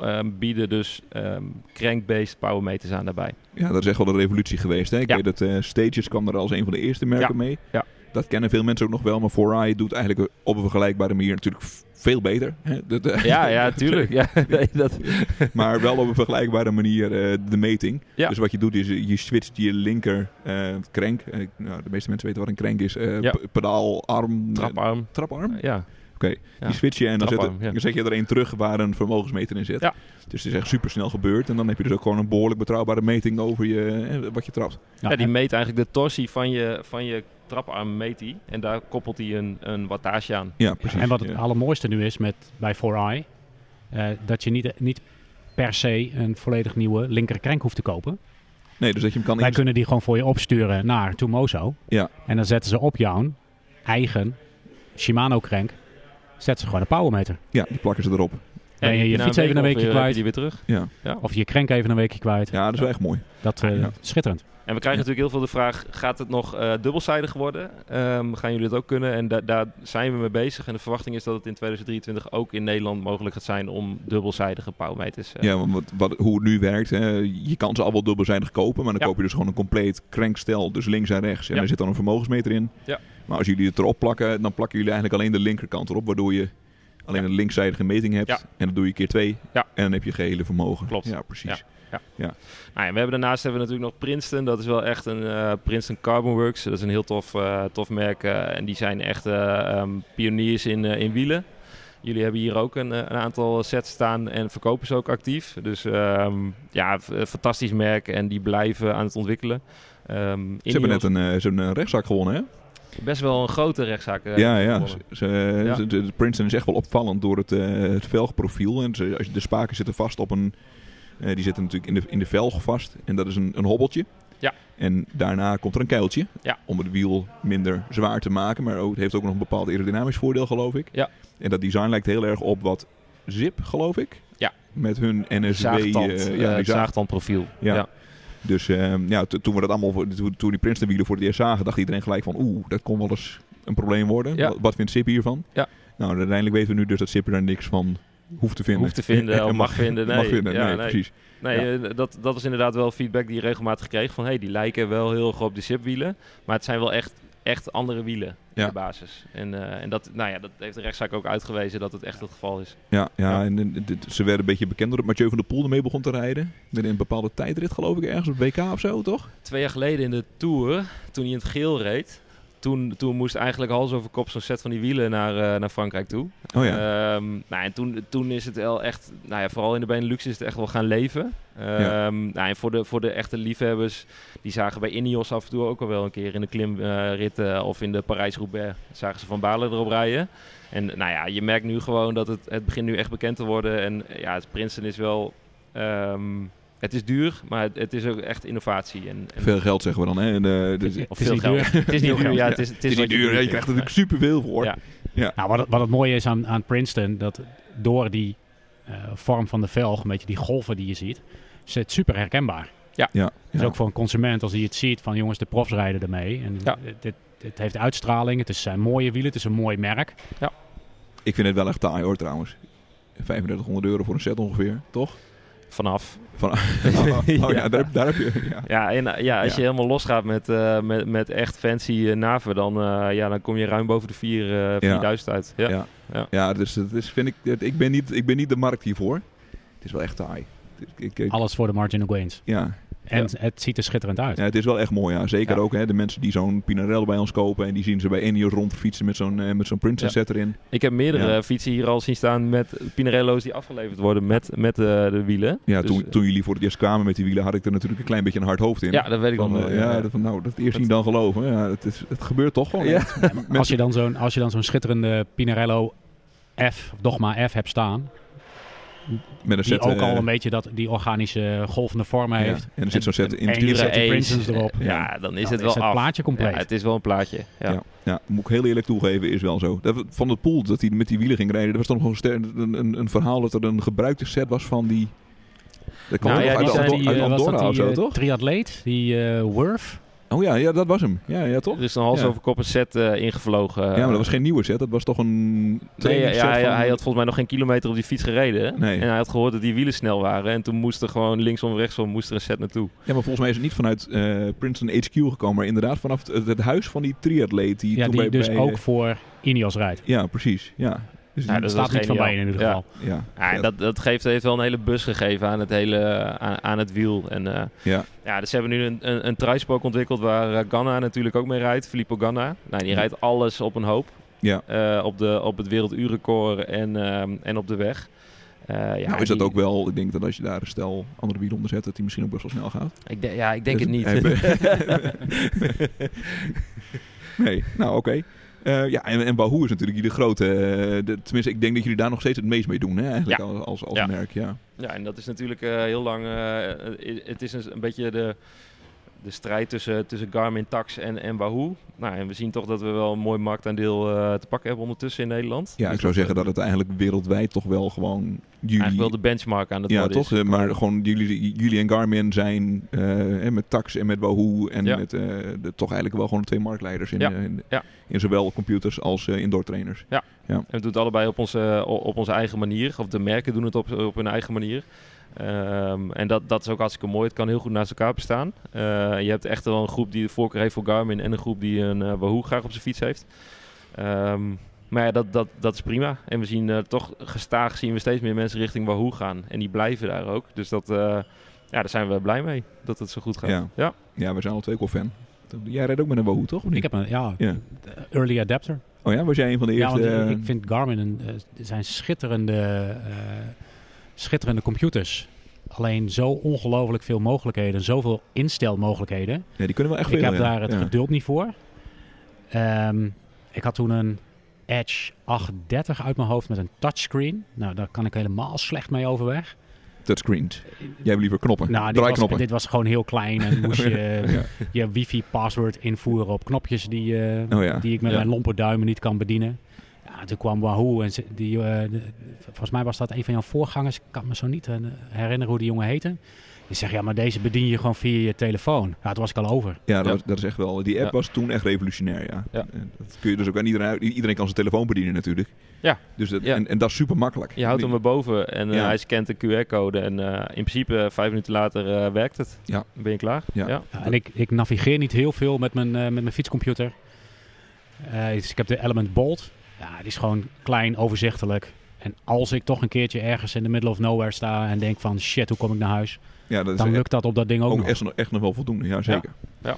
[SPEAKER 3] ehm, bieden dus ehm crank-based powermeters aan daarbij.
[SPEAKER 1] Ja, dat is echt wel een revolutie geweest. Hè? Ik
[SPEAKER 3] Ja.
[SPEAKER 1] weet dat eh, Stages kwam er als een van de eerste merken
[SPEAKER 3] Ja.
[SPEAKER 1] mee.
[SPEAKER 3] Ja.
[SPEAKER 1] Dat kennen veel mensen ook nog wel. Maar 4i doet eigenlijk op een vergelijkbare manier natuurlijk f- veel beter. Hè? Dat, eh,
[SPEAKER 3] Ja, ja, tuurlijk. Ja, nee, dat,
[SPEAKER 1] maar wel op een vergelijkbare manier eh, de meting.
[SPEAKER 3] Ja.
[SPEAKER 1] Dus wat je doet is eh, je switcht je linker eh crank. eh, nou, de meeste mensen weten wat een crank is. eh,
[SPEAKER 3] Ja.
[SPEAKER 1] p- Pedaalarm.
[SPEAKER 3] traparm.
[SPEAKER 1] eh, traparm?
[SPEAKER 3] Ja.
[SPEAKER 1] Die switch je en dan zet,
[SPEAKER 3] Traparm, ja.
[SPEAKER 1] dan zet je er één terug waar een vermogensmeter in zit.
[SPEAKER 3] Ja.
[SPEAKER 1] Dus het is echt super snel gebeurd. En dan heb je dus ook gewoon een behoorlijk betrouwbare meting over je, eh, wat je trapt.
[SPEAKER 3] Ja, die meet eigenlijk de torsie van je, van je traparm meet die. En daar koppelt hij een, een wattage aan.
[SPEAKER 1] Ja,
[SPEAKER 2] Ja,
[SPEAKER 1] precies.
[SPEAKER 2] en wat het
[SPEAKER 1] ja.
[SPEAKER 2] allermooiste nu is met, bij 4i, eh, dat je niet, niet per se een volledig nieuwe linkerkrenk hoeft te kopen.
[SPEAKER 1] Nee, dus dat je hem kan
[SPEAKER 2] Wij
[SPEAKER 1] in
[SPEAKER 2] kunnen die gewoon voor je opsturen naar Tumoso.
[SPEAKER 1] Ja.
[SPEAKER 2] En dan zetten ze op jouw eigen Shimano-krenk, zetten ze gewoon een powermeter.
[SPEAKER 1] Ja, die plakken ze erop.
[SPEAKER 2] Ben je
[SPEAKER 3] heb
[SPEAKER 2] je
[SPEAKER 3] na
[SPEAKER 2] fiets even een
[SPEAKER 3] of eh,
[SPEAKER 2] weekje
[SPEAKER 3] heb je
[SPEAKER 2] kwijt?
[SPEAKER 3] die weer terug.
[SPEAKER 1] Ja,
[SPEAKER 2] Of je krenk even een weekje kwijt.
[SPEAKER 1] ja dat is wel echt mooi.
[SPEAKER 2] Dat eh,
[SPEAKER 1] Ah, ja.
[SPEAKER 2] schitterend.
[SPEAKER 3] En we krijgen natuurlijk heel veel de vraag, gaat het nog eh, dubbelzijdig worden? Ehm, gaan jullie dat ook kunnen? En da- daar zijn we mee bezig. En de verwachting is dat het in 2023 ook in Nederland mogelijk gaat zijn om dubbelzijdige pauwmeters. eh,
[SPEAKER 1] Ja, want wat, wat, hoe het nu werkt, hè, je kan ze al wel dubbelzijdig kopen, maar dan
[SPEAKER 3] Ja.
[SPEAKER 1] koop je dus gewoon een compleet crankstel, dus links en rechts. En
[SPEAKER 3] Ja.
[SPEAKER 1] er zit dan een vermogensmeter in.
[SPEAKER 3] Ja.
[SPEAKER 1] Maar als jullie het erop plakken, dan plakken jullie eigenlijk alleen de linkerkant erop, waardoor je alleen een linkzijdige meting hebt.
[SPEAKER 3] Ja.
[SPEAKER 1] En dat doe je keer twee.
[SPEAKER 3] Ja.
[SPEAKER 1] En dan heb je gehele vermogen.
[SPEAKER 3] Klopt.
[SPEAKER 1] Ja, precies.
[SPEAKER 3] Nou ja, we hebben daarnaast hebben we natuurlijk nog Princeton. Dat is wel echt een eh, Princeton Carbon Works. Dat is een heel tof, eh, tof merk. eh, en die zijn echt eh, ehm, pioniers in, eh, in wielen. Jullie hebben hier ook een, eh, een aantal sets staan en verkopen ze ook actief. Dus ehm, ja, f- eh, fantastisch merk. En die blijven aan het ontwikkelen. Ehm,
[SPEAKER 1] Ze hebben net
[SPEAKER 3] Ineos-
[SPEAKER 1] een, eh, ze hebben een rechtszaak gewonnen, hè?
[SPEAKER 3] best wel een grote rechtszaak. eh,
[SPEAKER 1] ja, ja.
[SPEAKER 3] gewonnen.
[SPEAKER 1] Ze- ze-
[SPEAKER 3] Ja.
[SPEAKER 1] ze- de Princeton is echt wel opvallend door het, eh, het velgprofiel. En ze- als je- de spaken zitten vast op een... eh, die zitten natuurlijk in de, in de velg vast. En dat is een, een hobbeltje.
[SPEAKER 3] Ja.
[SPEAKER 1] En daarna komt er een keiltje
[SPEAKER 3] Ja.
[SPEAKER 1] om het wiel minder zwaar te maken. Maar ook, het heeft ook nog een bepaald aerodynamisch voordeel, geloof ik.
[SPEAKER 3] Ja.
[SPEAKER 1] En dat design lijkt heel erg op wat Zip, geloof ik.
[SPEAKER 3] Ja.
[SPEAKER 1] Met hun NSW.
[SPEAKER 3] Zaagtand,
[SPEAKER 1] eh,
[SPEAKER 3] eh,
[SPEAKER 1] ja, die zaag-
[SPEAKER 3] zaagtandprofiel.
[SPEAKER 1] Ja.
[SPEAKER 3] Ja.
[SPEAKER 1] Dus ehm, ja, to- toen we dat allemaal, voor- toen, toen die Princeton-wielen voor het eerst zagen, dacht iedereen gelijk van, oeh, dat kon wel eens een probleem worden.
[SPEAKER 3] Ja.
[SPEAKER 1] Wa- Wat, vindt Sip hiervan?
[SPEAKER 3] Ja.
[SPEAKER 1] Nou, uiteindelijk weten we nu dus dat Sip er niks van hoeft te vinden.
[SPEAKER 3] Hoeft te vinden,
[SPEAKER 1] En
[SPEAKER 3] of mag vinden, nee.
[SPEAKER 1] mag vinden,
[SPEAKER 3] Ja,
[SPEAKER 1] nee,
[SPEAKER 3] nee.
[SPEAKER 1] precies.
[SPEAKER 3] Nee, eh, dat, dat is inderdaad wel feedback die je regelmatig kreeg. Van, hey, die lijken wel heel erg op de SIP-wielen. Maar het zijn wel echt, echt andere wielen
[SPEAKER 1] Ja.
[SPEAKER 3] in de basis. En, eh, en dat, nou ja, dat heeft de rechtszaak ook uitgewezen dat het echt het geval is.
[SPEAKER 1] Ja, ja,
[SPEAKER 3] Ja.
[SPEAKER 1] en, en dit- ze werden een beetje bekend doordat Mathieu van der Poel ermee begon te rijden. Met een bepaalde tijdrit geloof ik, ergens op WK of zo, toch?
[SPEAKER 3] Twee jaar geleden in de Tour, toen hij in het geel reed... Toen, toen moest eigenlijk hals over kop zo'n set van die wielen naar, eh, naar Frankrijk toe.
[SPEAKER 1] Oh ja,
[SPEAKER 3] Ehm, nou, en toen, toen is het wel echt, nou ja, vooral in de Benelux is het echt wel gaan leven. Ehm,
[SPEAKER 1] Ja.
[SPEAKER 3] nou, en voor de, voor de echte liefhebbers, die zagen bij Ineos af en toe ook al wel een keer in de klimritten eh, of in de Parijs-Roubaix, zagen ze Van Balen erop rijden. En nou ja, je merkt nu gewoon dat het, het begint nu echt bekend te worden. En eh, ja, het Princeton is wel, ehm, het is duur, maar het, het is ook echt innovatie. En, en
[SPEAKER 1] veel geld zeggen we dan. Hè? En, eh, dus-
[SPEAKER 2] Het
[SPEAKER 3] Eh, of
[SPEAKER 2] is
[SPEAKER 3] veel
[SPEAKER 2] niet
[SPEAKER 3] geld.
[SPEAKER 2] duur.
[SPEAKER 3] Het is niet
[SPEAKER 1] Veel
[SPEAKER 3] duur,
[SPEAKER 1] geld,
[SPEAKER 3] ja.
[SPEAKER 1] ja.
[SPEAKER 3] Het is, het
[SPEAKER 1] het is niet
[SPEAKER 3] wat
[SPEAKER 1] duur, hè? je
[SPEAKER 3] verdient.
[SPEAKER 1] krijgt er natuurlijk superveel voor.
[SPEAKER 3] Ja.
[SPEAKER 2] Nou, wat, het, wat het mooie is aan, aan Princeton, dat door die eh, vorm van de velg, een beetje die golven die je ziet, is het super herkenbaar.
[SPEAKER 1] Ja,
[SPEAKER 2] Dus
[SPEAKER 1] ja.
[SPEAKER 2] ook voor een consument, als hij het ziet, van jongens, de profs rijden ermee. En
[SPEAKER 3] Ja.
[SPEAKER 2] het, het, het heeft uitstraling, het is, zijn mooie wielen, het is een mooi merk.
[SPEAKER 1] Ik vind het wel echt taai hoor trouwens. 3500 euro voor een set ongeveer, toch?
[SPEAKER 3] Vanaf.
[SPEAKER 1] Van, oh, ja,
[SPEAKER 3] Ja.
[SPEAKER 1] Daar, daar heb je. Ja.
[SPEAKER 3] Ja, en eh, ja, als je helemaal losgaat met, eh, met, met echt fancy eh, naven, dan, eh, ja, dan kom je ruim boven de vier, eh, 4000 uit. Ja.
[SPEAKER 1] Ja. Ja, dus het is, vind ik, het- ik, ben niet, ik ben niet de markt hiervoor. Het is wel echt taai. Ik, ik, ik-
[SPEAKER 2] Alles voor de marginal gains.
[SPEAKER 1] ja.
[SPEAKER 2] En het ziet er schitterend uit.
[SPEAKER 1] ja, het is wel echt mooi. Ja. Zeker
[SPEAKER 3] Ja.
[SPEAKER 1] ook hè, de mensen die zo'n Pinarello bij ons kopen en die zien ze bij Ineos rondfietsen met zo'n eh, met zo'n Princess set erin.
[SPEAKER 3] Ik heb meerdere
[SPEAKER 1] Ja.
[SPEAKER 3] fietsen hier al zien staan met Pinarello's die afgeleverd worden met, met eh, de wielen.
[SPEAKER 1] Ja,
[SPEAKER 3] Dus,
[SPEAKER 1] toen, toen jullie voor het eerst kwamen met die wielen had ik er natuurlijk een klein beetje een hard hoofd in.
[SPEAKER 3] ja, dat weet ik
[SPEAKER 1] Van,
[SPEAKER 3] nog wel.
[SPEAKER 1] eh, ja, dat van, nou, dat eerst
[SPEAKER 3] Dat-
[SPEAKER 1] zien dan geloven. Ja, het, is, het gebeurt toch gewoon.
[SPEAKER 3] Ja.
[SPEAKER 1] echt.
[SPEAKER 2] Als je dan zo'n, als je dan zo'n schitterende Pinarello F, of Dogma F hebt staan,
[SPEAKER 1] Met een
[SPEAKER 2] die
[SPEAKER 1] set,
[SPEAKER 2] ook
[SPEAKER 1] eh,
[SPEAKER 2] al een beetje dat, die organische golvende vorm
[SPEAKER 1] ja.
[SPEAKER 2] heeft.
[SPEAKER 1] En er zit zo'n set in.
[SPEAKER 2] en je
[SPEAKER 3] Dure
[SPEAKER 2] zet die
[SPEAKER 3] Ace.
[SPEAKER 2] Princess erop. Nou,
[SPEAKER 3] Ja, dan is
[SPEAKER 2] Dan
[SPEAKER 3] het wel
[SPEAKER 2] het
[SPEAKER 3] af.
[SPEAKER 2] plaatje compleet.
[SPEAKER 3] Ja, het is wel een plaatje. Ja.
[SPEAKER 1] Ja. Ja, moet ik heel eerlijk toegeven, is wel zo. Dat we- Van het Poel, dat hij met die wielen ging rijden, dat was dan gewoon ster- een, een, een verhaal dat er een gebruikte set was van die... Dat kwam
[SPEAKER 3] Nou
[SPEAKER 1] toch
[SPEAKER 3] ja, die
[SPEAKER 1] uit,
[SPEAKER 3] zijn
[SPEAKER 1] Andor-
[SPEAKER 3] die,
[SPEAKER 1] uit
[SPEAKER 2] eh, was dat
[SPEAKER 1] Andorra
[SPEAKER 2] die
[SPEAKER 1] of zo,
[SPEAKER 2] eh,
[SPEAKER 1] toch?
[SPEAKER 2] triatleet, die eh Wurf.
[SPEAKER 1] Oh ja, ja, dat was hem. Ja, ja toch?
[SPEAKER 3] Dus dan hals
[SPEAKER 1] Ja.
[SPEAKER 3] over kop een set eh, ingevlogen.
[SPEAKER 1] Ja, maar dat was geen nieuwe set, dat was toch een
[SPEAKER 3] Nee, ja,
[SPEAKER 1] trainingsset
[SPEAKER 3] ja,
[SPEAKER 1] van...
[SPEAKER 3] hij had volgens mij nog geen kilometer op die fiets gereden. hè?
[SPEAKER 1] Nee.
[SPEAKER 3] En hij had gehoord dat die wielen snel waren. En toen moest er gewoon linksom, rechtsom moest er een set naartoe.
[SPEAKER 1] Ja, maar volgens mij is het niet vanuit eh Princeton HQ gekomen, maar inderdaad vanaf het, het huis van die triatleet. Die
[SPEAKER 2] Ja,
[SPEAKER 1] toen
[SPEAKER 2] die
[SPEAKER 1] bij,
[SPEAKER 2] dus
[SPEAKER 1] bij, eh,
[SPEAKER 2] ook voor Ineos rijdt.
[SPEAKER 1] Ja, precies. Ja, dus
[SPEAKER 3] Ja,
[SPEAKER 1] die-
[SPEAKER 3] dat
[SPEAKER 2] Dat
[SPEAKER 3] is
[SPEAKER 2] staat niet van
[SPEAKER 3] geniaal.
[SPEAKER 2] bij in ieder
[SPEAKER 3] Ja.
[SPEAKER 2] geval.
[SPEAKER 1] ja,
[SPEAKER 3] Ja, en
[SPEAKER 1] vet.
[SPEAKER 3] dat, dat geeft, heeft wel een hele bus gegeven aan het, hele, eh, aan, aan het wiel. En, eh,
[SPEAKER 1] Ja.
[SPEAKER 3] ja, dus ze hebben nu een, een, een truispook ontwikkeld waar eh, Ganna natuurlijk ook mee rijdt. Filippo Ganna. Nou, die rijdt alles op een hoop.
[SPEAKER 1] Ja.
[SPEAKER 3] Eh, op, de, op het werelduurrecord en, ehm, en op de weg. Eh, ja,
[SPEAKER 1] nou is dat
[SPEAKER 3] die-
[SPEAKER 1] ook wel, ik denk dat als je daar een stel andere wielen onder zet, dat die misschien ook best wel snel gaat.
[SPEAKER 3] Ik de- ja, ik denk het
[SPEAKER 1] Dus-
[SPEAKER 3] niet.
[SPEAKER 1] nee, nou oké. Eh, ja, en, en Wahoo is natuurlijk jullie grote... eh, de- tenminste, ik denk dat jullie daar nog steeds het meest mee doen, hè? Eigenlijk
[SPEAKER 3] Ja.
[SPEAKER 1] als, als, als
[SPEAKER 3] Ja.
[SPEAKER 1] merk, ja.
[SPEAKER 3] Ja, en dat is natuurlijk eh, heel lang. eh, eh, het is een, een beetje de, de strijd tussen, tussen Garmin, Tax en, en Wahoo. Nou, en we zien toch dat we wel een mooi marktaandeel eh, te pakken hebben ondertussen in Nederland.
[SPEAKER 1] Ja,
[SPEAKER 3] Dus
[SPEAKER 1] ik zou zeggen dat het eigenlijk wereldwijd toch wel gewoon jullie...
[SPEAKER 3] Eigenlijk wel de benchmark aan het
[SPEAKER 1] ja,
[SPEAKER 3] worden
[SPEAKER 1] toch?
[SPEAKER 3] is.
[SPEAKER 1] Eh, Maar gewoon jullie, jullie en Garmin zijn eh, en met Tax en met Wahoo en
[SPEAKER 3] Ja.
[SPEAKER 1] met eh, de, toch eigenlijk wel gewoon twee marktleiders in,
[SPEAKER 3] Ja.
[SPEAKER 1] eh, in,
[SPEAKER 3] Ja.
[SPEAKER 1] in zowel computers als eh, indoor trainers.
[SPEAKER 3] En we doen het allebei op onze, o- op onze eigen manier. Of de merken doen het op, op hun eigen manier. Ehm, en dat, dat is ook hartstikke mooi. Het kan heel goed naast elkaar bestaan. Eh, je hebt echt wel een groep die de voorkeur heeft voor Garmin en een groep die een eh, Wahoo graag op zijn fiets heeft. Ehm, maar ja, dat, dat, dat is prima. En we zien eh, toch gestaag zien we steeds meer mensen richting Wahoo gaan. En die blijven daar ook. Dus dat, eh, ja, daar zijn we blij mee dat het zo goed gaat.
[SPEAKER 1] Ja.
[SPEAKER 3] ja.
[SPEAKER 1] Ja, we zijn al twee wel fan. Jij rijdt ook met een Wahoo, toch? Of niet?
[SPEAKER 2] Ik heb een ja,
[SPEAKER 1] Ja.
[SPEAKER 2] early adapter.
[SPEAKER 1] Oh ja, was jij een van de
[SPEAKER 2] Ja,
[SPEAKER 1] eerste?
[SPEAKER 2] want
[SPEAKER 1] eh,
[SPEAKER 2] ik- ik vind Garmin een, eh, zijn schitterende, eh, schitterende computers. Alleen zo ongelooflijk veel mogelijkheden, zoveel instelmogelijkheden.
[SPEAKER 1] Ja, die kunnen wel echt
[SPEAKER 2] ik
[SPEAKER 1] veel.
[SPEAKER 2] heb
[SPEAKER 1] ja.
[SPEAKER 2] daar het
[SPEAKER 1] Ja.
[SPEAKER 2] geduld niet voor. Ehm, ik had toen een Edge 830 uit mijn hoofd met een touchscreen. Nou, daar kan ik helemaal slecht mee overweg.
[SPEAKER 1] touchscreens. Jij hebt liever knoppen.
[SPEAKER 2] Nou, dit
[SPEAKER 1] Draai
[SPEAKER 2] was,
[SPEAKER 1] knoppen.
[SPEAKER 2] dit was gewoon heel klein en moest je
[SPEAKER 1] Ja.
[SPEAKER 2] je wifi-password invoeren op knopjes die, eh,
[SPEAKER 1] Oh ja.
[SPEAKER 2] die ik met
[SPEAKER 3] Ja.
[SPEAKER 2] mijn lompe duimen niet kan bedienen. Ja, toen kwam Wahoo en ze- die, eh, de- volgens mij was dat een van jouw voorgangers. Ik kan me zo niet eh, herinneren hoe die jongen heette. Die zegt, ja, maar deze bedien je gewoon via je telefoon. Ja, toen was ik al over.
[SPEAKER 1] Ja, dat,
[SPEAKER 3] Ja.
[SPEAKER 1] was- dat is echt wel. Die app
[SPEAKER 3] Ja.
[SPEAKER 1] was toen echt revolutionair. Ja.
[SPEAKER 3] Ja.
[SPEAKER 1] En Dat kun je dus ook aan iedereen uit. Iedereen kan zijn telefoon bedienen natuurlijk.
[SPEAKER 3] Ja.
[SPEAKER 1] Dus dat,
[SPEAKER 3] Ja.
[SPEAKER 1] En, en dat is super makkelijk.
[SPEAKER 3] Je houdt hem erboven en eh,
[SPEAKER 1] Ja.
[SPEAKER 3] hij scant de QR-code. En eh, in principe eh, vijf minuten later eh, werkt het.
[SPEAKER 1] Ja.
[SPEAKER 3] Dan ben je klaar.
[SPEAKER 1] Ja.
[SPEAKER 2] Ja, en ik, ik navigeer niet heel veel met mijn, eh, met mijn fietscomputer. Eh, dus ik heb de Element Bolt. Ja, die is gewoon klein, overzichtelijk. En als ik toch een keertje ergens in de middle of nowhere sta en denk van shit, hoe kom ik naar huis?
[SPEAKER 1] Ja, dat is
[SPEAKER 2] Dan
[SPEAKER 1] echt,
[SPEAKER 2] lukt dat op dat ding ook,
[SPEAKER 1] ook
[SPEAKER 2] nog.
[SPEAKER 1] echt, nog- echt nog wel voldoende. Ja, zeker.
[SPEAKER 3] Ja.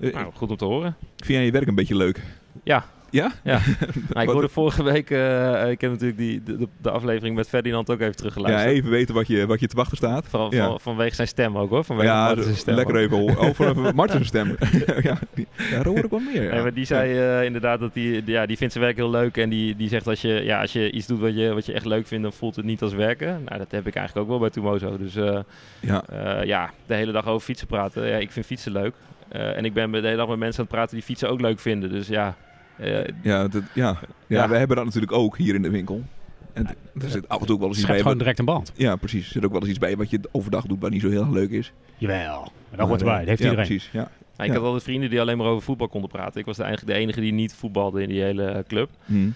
[SPEAKER 1] Eh,
[SPEAKER 3] Nou, goed om te horen.
[SPEAKER 1] Vind jij je werk een beetje leuk?
[SPEAKER 3] Ja.
[SPEAKER 1] Ja?
[SPEAKER 3] Ja. Nou, ik
[SPEAKER 1] Wat-
[SPEAKER 3] hoorde vorige week, eh, ik heb natuurlijk die, de, de aflevering met Ferdinand ook even
[SPEAKER 1] ja,
[SPEAKER 3] teruggeluisterd.
[SPEAKER 1] even weten wat je, wat je te wachten staat.
[SPEAKER 3] Van,
[SPEAKER 1] Ja.
[SPEAKER 3] van- vanwege zijn stem ook hoor. Vanwege
[SPEAKER 1] Ja,
[SPEAKER 3] Martens' stem
[SPEAKER 1] lekker
[SPEAKER 3] ook.
[SPEAKER 1] even horen. Over even Martens stem. ja, die, daar hoor ik wel meer. Ja.
[SPEAKER 3] Nee, maar die zei eh, inderdaad dat die, ja, die vindt zijn werk heel leuk. En die, die zegt als je, ja, als je iets doet wat je, wat je echt leuk vindt, dan voelt het niet als werken. Nou, dat heb ik eigenlijk ook wel bij Tumozo. Dus eh,
[SPEAKER 1] Ja.
[SPEAKER 3] eh, ja, de hele dag over fietsen praten. Ja, ik vind fietsen leuk. Eh, en ik ben de hele dag met mensen aan het praten die fietsen ook leuk vinden. Dus ja, eh,
[SPEAKER 1] Ja, dat, ja. Ja,
[SPEAKER 3] Ja.
[SPEAKER 1] we hebben dat natuurlijk ook hier in de winkel. En d-
[SPEAKER 2] dus
[SPEAKER 1] er zit af en toe ook wel eens iets
[SPEAKER 2] Schept
[SPEAKER 1] bij.
[SPEAKER 2] gewoon
[SPEAKER 1] wat-
[SPEAKER 2] direct een band.
[SPEAKER 1] ja, precies. Er zit ook wel eens iets bij wat je overdag doet, wat niet zo heel erg leuk is.
[SPEAKER 2] Jawel, maar dat hoort
[SPEAKER 1] Maar,
[SPEAKER 2] erbij.
[SPEAKER 1] eh,
[SPEAKER 2] Dat heeft
[SPEAKER 1] ja,
[SPEAKER 2] iedereen.
[SPEAKER 1] Precies, ja,
[SPEAKER 3] nou, ik had altijd vrienden die alleen maar over voetbal konden praten. Ik was de- eigenlijk de enige die niet voetbalde in die hele club.
[SPEAKER 1] Hm.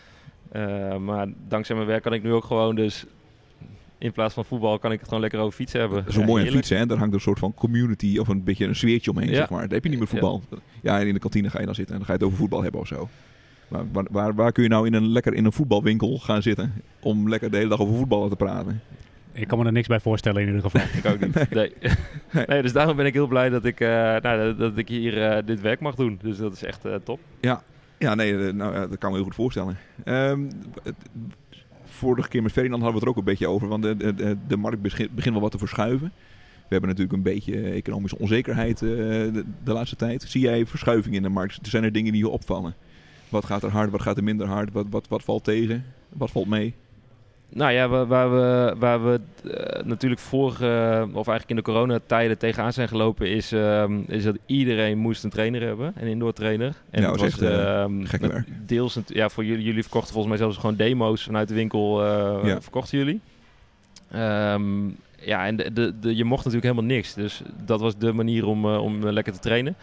[SPEAKER 3] Eh, maar dankzij mijn werk kan ik nu ook gewoon dus... In plaats van voetbal kan ik het gewoon lekker over fietsen hebben.
[SPEAKER 1] Zo
[SPEAKER 3] Ja,
[SPEAKER 1] mooi aan
[SPEAKER 3] heerlijk.
[SPEAKER 1] fietsen, hè? daar hangt een soort van community of een beetje een sfeertje omheen,
[SPEAKER 3] Ja.
[SPEAKER 1] zeg maar. Dat heb je niet met voetbal. Ja, en in de kantine ga je dan zitten en dan ga je het over voetbal hebben of zo. Maar waar, waar, waar kun je nou in een, lekker in een voetbalwinkel gaan zitten om lekker de hele dag over voetballen te praten?
[SPEAKER 2] Ik kan me er niks bij voorstellen in ieder geval.
[SPEAKER 3] Ik ook niet. Nee.
[SPEAKER 1] Nee.
[SPEAKER 3] Nee, dus daarom ben ik heel blij dat ik, eh, nou, dat, dat ik hier eh, dit werk mag doen. Dus dat is echt eh, top.
[SPEAKER 1] Ja, nee, eh, nou, ja, dat kan ik me heel goed voorstellen. Ehm, het- vorige keer met Ferdinand hadden we het er ook een beetje over, want de, de- de, de markt begint begint wel wat te verschuiven. We hebben natuurlijk een beetje eh, economische onzekerheid eh, de, de laatste tijd. Zie jij verschuiving in de markt? Zijn er dingen die je opvallen? Wat gaat er hard, wat gaat er minder hard? Wat, wat, wat valt tegen? Wat valt mee?
[SPEAKER 3] Nou ja, waar, waar we, waar we eh, natuurlijk vorige, eh, of eigenlijk in de coronatijden tegenaan zijn gelopen, is, ehm, is dat iedereen moest een trainer hebben, een indoor trainer. En
[SPEAKER 1] Ja,
[SPEAKER 3] dat
[SPEAKER 1] dat is echt, eh,
[SPEAKER 3] ehm,
[SPEAKER 1] gek
[SPEAKER 3] met-
[SPEAKER 1] werk.
[SPEAKER 3] deels, natu- ja, voor jullie, jullie verkochten volgens mij zelfs gewoon demo's vanuit de winkel, eh,
[SPEAKER 1] Ja.
[SPEAKER 3] verkochten jullie. Ehm, ja, en de, de, de- je mocht natuurlijk helemaal niks, dus dat was de manier om, eh, om eh, lekker te trainen.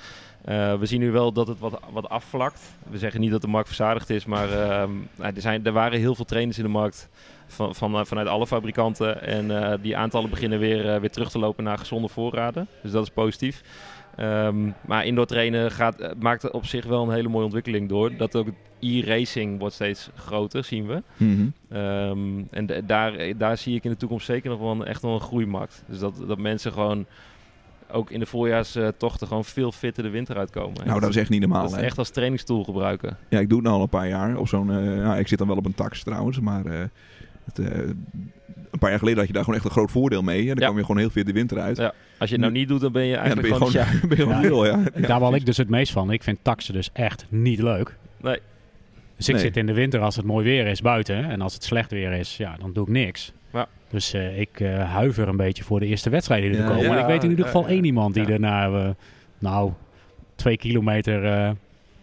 [SPEAKER 3] Eh, we zien nu wel dat het wat, wat afvlakt. We zeggen niet dat de markt verzadigd is, maar ehm, nou, er, zijn, er waren heel veel trainers in de markt van, van, eh, vanuit alle fabrikanten. En eh, die aantallen beginnen weer, eh, weer terug te lopen naar gezonde voorraden. Dus dat is positief. Ehm, maar indoor trainen gaat, eh, maakt op zich wel een hele mooie ontwikkeling door. Dat ook het e-racing wordt steeds groter, zien we.
[SPEAKER 1] Nou,
[SPEAKER 3] Ehm, en da- daar, daar zie ik in de toekomst zeker nog wel een, echt wel een groeimarkt. Dus dat, dat mensen gewoon ook in de voorjaarstochten gewoon veel fitter de winter uitkomen.
[SPEAKER 1] Nou, dat is echt niet normaal.
[SPEAKER 3] dat ze
[SPEAKER 1] hè?
[SPEAKER 3] echt als trainingstool gebruiken.
[SPEAKER 1] Ja, ik doe het nu al een paar jaar. Op zo'n, eh, ja, ik zit dan wel op een tax trouwens, maar eh, het, eh, een paar jaar geleden had je daar gewoon echt een groot voordeel mee. En dan
[SPEAKER 3] Ja.
[SPEAKER 1] kwam je gewoon heel veel de winter uit.
[SPEAKER 3] Ja. Als je het nou niet doet, dan ben je
[SPEAKER 1] Ja, dan ben
[SPEAKER 3] eigenlijk
[SPEAKER 1] je
[SPEAKER 3] gewoon...
[SPEAKER 1] gewoon, ben je gewoon
[SPEAKER 2] Ja.
[SPEAKER 1] nul, ja.
[SPEAKER 2] En Daar wal ik dus het meest van. Ik vind taxen dus echt niet leuk.
[SPEAKER 3] Nee.
[SPEAKER 2] Dus ik
[SPEAKER 1] Nee.
[SPEAKER 2] zit in de winter als het mooi weer is buiten. En als het slecht weer is, ja, dan doe ik niks.
[SPEAKER 3] Ja.
[SPEAKER 2] Dus eh, ik eh, huiver een beetje voor de eerste wedstrijden die er
[SPEAKER 1] Ja,
[SPEAKER 2] komen.
[SPEAKER 1] ja.
[SPEAKER 2] En ik weet in ieder
[SPEAKER 3] Ja,
[SPEAKER 2] geval
[SPEAKER 3] ja.
[SPEAKER 2] één iemand die
[SPEAKER 3] Ja.
[SPEAKER 2] er na, eh, nou, twee kilometer eh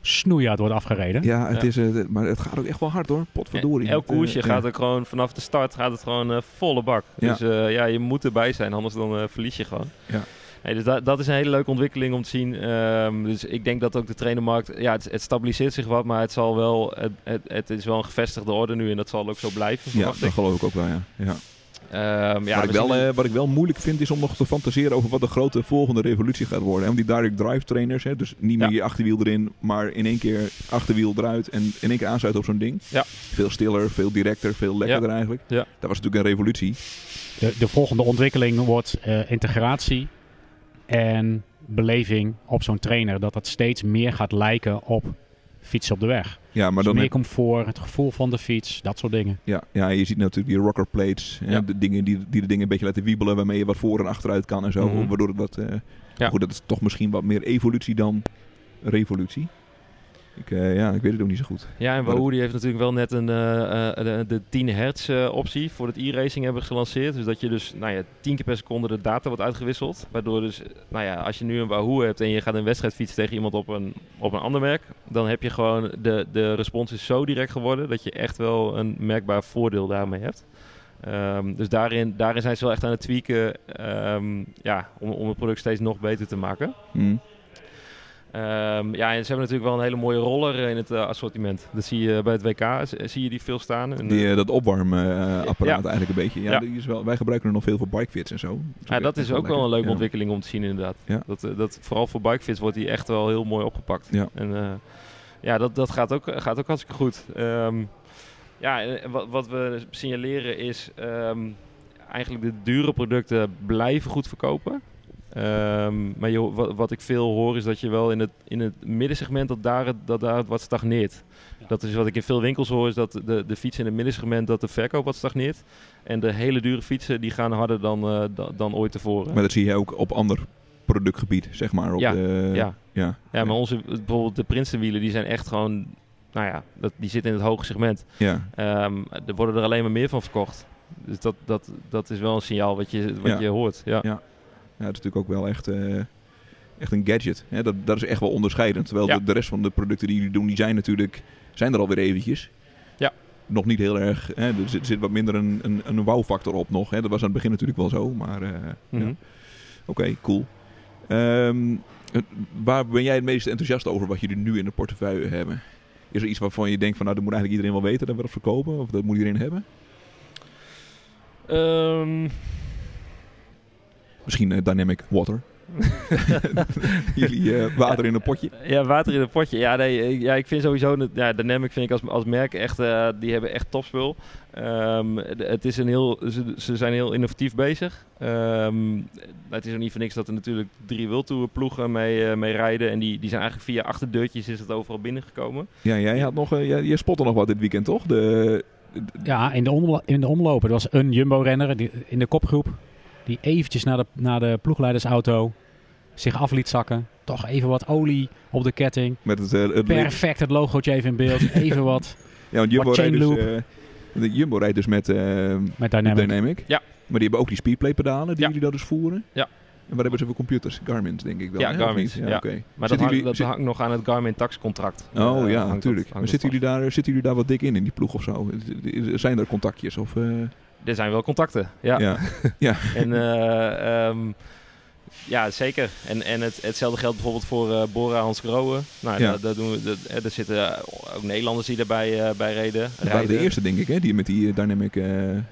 [SPEAKER 2] snoeihard wordt afgereden.
[SPEAKER 1] Ja, het
[SPEAKER 3] Ja.
[SPEAKER 1] Is, eh, maar het gaat ook echt wel hard hoor. Potverdorie.
[SPEAKER 3] Elk koersje
[SPEAKER 1] Eh,
[SPEAKER 3] gaat
[SPEAKER 1] ja.
[SPEAKER 3] ook gewoon vanaf de start gaat het gewoon eh, volle bak.
[SPEAKER 1] Ja.
[SPEAKER 3] Dus eh, ja, je moet erbij zijn, anders dan eh, verlies je gewoon.
[SPEAKER 1] Ja.
[SPEAKER 3] Nee, dus dat, dat is een hele leuke ontwikkeling om te zien. Ehm, dus ik denk dat ook de trainermarkt, ja, het, het stabiliseert zich wat, maar het zal wel, het, het, het is wel een gevestigde orde nu en dat zal ook zo
[SPEAKER 1] Ja,
[SPEAKER 3] blijven. verwacht
[SPEAKER 1] dat
[SPEAKER 3] ik.
[SPEAKER 1] geloof ik ook wel, ja. ja.
[SPEAKER 3] Ehm, ja,
[SPEAKER 1] wat,
[SPEAKER 3] we
[SPEAKER 1] ik wel,
[SPEAKER 3] zien-
[SPEAKER 1] eh, wat ik wel moeilijk vind is om nog te fantaseren over wat de grote volgende revolutie gaat worden. Hè? Want die direct drive trainers, hè? dus niet meer
[SPEAKER 3] Ja.
[SPEAKER 1] je achterwiel erin, maar in één keer achterwiel eruit en in één keer aansluiten op zo'n ding.
[SPEAKER 3] Ja.
[SPEAKER 1] Veel stiller, veel directer, veel lekkerder eigenlijk.
[SPEAKER 3] Ja.
[SPEAKER 1] Dat was natuurlijk een revolutie.
[SPEAKER 2] De, de volgende ontwikkeling wordt eh, integratie en beleving op zo'n trainer. Dat dat steeds meer gaat lijken op fietsen op de weg.
[SPEAKER 1] Ja, maar
[SPEAKER 2] Dus
[SPEAKER 1] dan
[SPEAKER 2] meer comfort, het gevoel van de fiets, dat soort dingen.
[SPEAKER 1] ja, ja, je ziet natuurlijk die rocker plates, hè,
[SPEAKER 3] Ja.
[SPEAKER 1] de dingen die, die de dingen een beetje laten wiebelen, waarmee je wat voor en achteruit kan en zo.
[SPEAKER 3] Mhm.
[SPEAKER 1] Waardoor het wat, eh,
[SPEAKER 3] Ja.
[SPEAKER 1] goed, dat is toch misschien wat meer evolutie dan revolutie. Ik, eh, ja, ik weet het ook niet zo goed.
[SPEAKER 3] Ja, en
[SPEAKER 1] Maar
[SPEAKER 3] Wahoo die heeft natuurlijk wel net een, eh, eh, de, de 10 hertz eh, optie voor het e-racing hebben gelanceerd. Dus dat je dus nou ja, 10 keer per seconde de data wordt uitgewisseld. Waardoor dus, eh, nou ja, als je nu een Wahoo hebt en je gaat een wedstrijd fietsen tegen iemand op een, op een ander merk. Dan heb je gewoon, de, de respons is zo direct geworden dat je echt wel een merkbaar voordeel daarmee hebt. Ehm, dus daarin, daarin zijn ze wel echt aan het tweaken ehm, ja, om, om het product steeds nog beter te maken.
[SPEAKER 1] Hm.
[SPEAKER 3] Ehm, ja, en ze hebben natuurlijk wel een hele mooie roller eh, in het eh, assortiment. Dat zie je bij het WK, z- zie je die veel staan. En,
[SPEAKER 1] Die, eh, dat opwarmapparaat
[SPEAKER 3] Ja.
[SPEAKER 1] eigenlijk een beetje. Ja,
[SPEAKER 3] Ja.
[SPEAKER 1] Die is wel, wij gebruiken er nog veel voor bikefits en zo.
[SPEAKER 3] ja, dat is ook wel een leuke
[SPEAKER 1] leuk
[SPEAKER 3] ontwikkeling om te zien inderdaad.
[SPEAKER 1] Ja.
[SPEAKER 3] Dat, eh, dat, vooral voor bikefits wordt die echt wel heel mooi opgepakt.
[SPEAKER 1] Ja.
[SPEAKER 3] En eh, ja, dat, dat gaat, ook, gaat ook hartstikke goed. Ehm, ja, en wat, wat we signaleren is ehm, eigenlijk de dure producten blijven goed verkopen. Ehm, maar je, ho- wat, wat ik veel hoor is dat je wel in het, in het middensegment dat daar, het- dat daar het wat stagneert.
[SPEAKER 2] Ja.
[SPEAKER 3] Dat is wat ik in veel winkels hoor, is dat de, de fietsen in het middensegment dat de verkoop wat stagneert. En de hele dure fietsen die gaan harder dan, eh, dan, dan ooit tevoren.
[SPEAKER 1] Maar dat zie je ook op ander productgebied, zeg maar. Op
[SPEAKER 3] Ja,
[SPEAKER 1] de-
[SPEAKER 3] ja.
[SPEAKER 1] eh, ja.
[SPEAKER 3] Ja, maar onze, bijvoorbeeld de Prinsenwielen, die zijn echt gewoon, nou ja, dat, die zitten in het hoge segment.
[SPEAKER 1] Ja.
[SPEAKER 3] Ehm, er worden er alleen maar meer van verkocht. Dus dat, dat, dat is wel een signaal wat je, wat
[SPEAKER 1] Ja.
[SPEAKER 3] je hoort. Ja.
[SPEAKER 1] Ja. Ja, het is natuurlijk ook wel echt, eh, echt een gadget. Hè? Dat, dat is echt wel onderscheidend. Terwijl
[SPEAKER 3] Ja.
[SPEAKER 1] de, de rest van de producten die jullie doen, die zijn natuurlijk zijn er alweer eventjes.
[SPEAKER 3] Ja.
[SPEAKER 1] Nog niet heel erg. Hè? Er zit, zit wat minder een, een, een wow-factor op nog. Hè? Dat was aan het begin natuurlijk wel zo. Maar eh,
[SPEAKER 3] Mhm.
[SPEAKER 1] ja. oké, cool. Ehm, eh, waar ben jij het meest enthousiast over wat jullie nu in de portefeuille hebben? Is er iets waarvan je denkt van nou, dat moet eigenlijk iedereen wel weten dat we dat verkopen? Of dat moet iedereen hebben?
[SPEAKER 3] Ehm,
[SPEAKER 1] Misschien eh, Dynamic Water. jullie eh, water in een potje.
[SPEAKER 3] ja, water in een potje. Ja, nee, eh, ja ik vind sowieso, dat- ja, Dynamic vind ik als, als merk echt, eh, die hebben echt topspul. Ehm, de- het is een heel, ze, ze zijn heel innovatief bezig. Ehm, het is ook niet voor niks dat er natuurlijk drie wildtoeren ploegen mee, eh, mee rijden. En die, die zijn eigenlijk via achterdeurtjes is het overal binnengekomen.
[SPEAKER 1] Ja, jij had nog, eh, jij, jij spotte nog wat dit weekend, toch? De,
[SPEAKER 2] Ja, in de, omlo- in de omloop. Er was een Jumbo-renner die- in de kopgroep. Die eventjes naar de, naar de ploegleidersauto zich af liet zakken. Toch even wat olie op de ketting.
[SPEAKER 1] met het, eh, het lid-
[SPEAKER 2] Perfect het logootje even in beeld. Even wat
[SPEAKER 1] Ja, want Jumbo
[SPEAKER 2] wat
[SPEAKER 1] rijdt dus,
[SPEAKER 2] chainloop.
[SPEAKER 1] eh, de Jumbo rijdt dus met eh,
[SPEAKER 2] met
[SPEAKER 1] met
[SPEAKER 2] Dynamic.
[SPEAKER 1] Dynamic.
[SPEAKER 3] Ja.
[SPEAKER 1] Maar die hebben ook die speedplay pedalen die
[SPEAKER 3] Ja.
[SPEAKER 1] jullie daar dus voeren.
[SPEAKER 3] Ja.
[SPEAKER 1] En waar hebben ze voor computers? Garmin's, denk ik wel.
[SPEAKER 3] Ja,
[SPEAKER 1] hè, of
[SPEAKER 3] Garmin's,
[SPEAKER 1] niet?
[SPEAKER 3] ja.
[SPEAKER 1] oké.
[SPEAKER 3] Maar dat,
[SPEAKER 1] Zitten
[SPEAKER 3] hangt,
[SPEAKER 1] jullie-
[SPEAKER 3] dat
[SPEAKER 1] zit-
[SPEAKER 3] hangt nog aan het Garmin Tax contract.
[SPEAKER 1] Oh
[SPEAKER 3] Eh,
[SPEAKER 1] ja,
[SPEAKER 3] hangt dat-
[SPEAKER 1] natuurlijk.
[SPEAKER 3] hangt
[SPEAKER 1] Maar
[SPEAKER 3] dat
[SPEAKER 1] zitten
[SPEAKER 3] vast.
[SPEAKER 1] jullie, daar, zitten jullie daar wat dik in, in die ploeg of zo? Zijn er contactjes? Of, eh,
[SPEAKER 3] Er zijn wel contacten, ja.
[SPEAKER 1] ja.
[SPEAKER 3] En, eh, ehm, ja, zeker. En, en het, hetzelfde geldt bijvoorbeeld voor eh Bora Hans Groen. Nou,
[SPEAKER 1] Ja.
[SPEAKER 3] daar, daar doen we, dat- eh, daar zitten eh, ook Nederlanders die daarbij eh, bij reden.
[SPEAKER 1] Dat waren de
[SPEAKER 3] rijden.
[SPEAKER 1] eerste, denk ik, hè, die met die eh, Dynamic eh,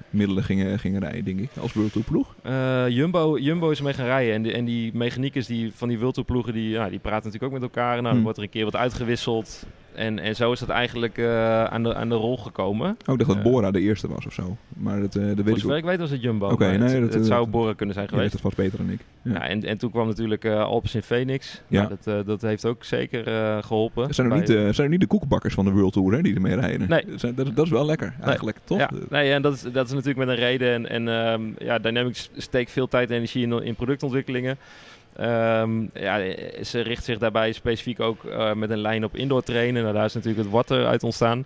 [SPEAKER 1] middelen gingen, gingen rijden, denk ik. Als World Tour ploeg.
[SPEAKER 3] Eh, Jumbo, Jumbo is mee gaan rijden. En, die- en die mechaniekers die, van die wildtoerploegen, die, ja, die praten natuurlijk ook met elkaar. Nou,
[SPEAKER 1] Hmm.
[SPEAKER 3] dan wordt er een keer wat uitgewisseld. En, en zo is dat eigenlijk eh, aan, de, aan de rol gekomen.
[SPEAKER 1] Oh, ik dacht dat
[SPEAKER 3] Eh.
[SPEAKER 1] Bora de eerste was of zo. Maar dat, eh, dat weet
[SPEAKER 3] Voor
[SPEAKER 1] ik ook.
[SPEAKER 3] zover ik weet was het Jumbo.
[SPEAKER 1] Oké,
[SPEAKER 3] maar
[SPEAKER 1] nee,
[SPEAKER 3] het,
[SPEAKER 1] dat- eh,
[SPEAKER 3] het zou
[SPEAKER 1] dat-
[SPEAKER 3] Bora kunnen zijn
[SPEAKER 1] Je weet
[SPEAKER 3] geweest.
[SPEAKER 1] het vast beter dan ik. Ja.
[SPEAKER 3] Ja, en, en toen kwam natuurlijk eh Alpes in Phoenix.
[SPEAKER 1] Ja.
[SPEAKER 3] Ja. dat, eh, dat heeft ook zeker eh, geholpen.
[SPEAKER 1] Dat zijn nog
[SPEAKER 3] Bij-
[SPEAKER 1] niet, de- zijn nog niet de koekenbakkers van de World Tour hè, die ermee rijden.
[SPEAKER 3] Nee.
[SPEAKER 1] Dat, zijn- dat, dat is wel lekker eigenlijk, toch?
[SPEAKER 3] Ja, nee, en dat is, dat is natuurlijk met een reden. En, en ehm, ja, Dynamics steekt veel tijd en energie in, in productontwikkelingen. Ehm, ja, ze richt zich daarbij specifiek ook eh, met een lijn op indoor trainen. Nou, daar is natuurlijk het water uit ontstaan.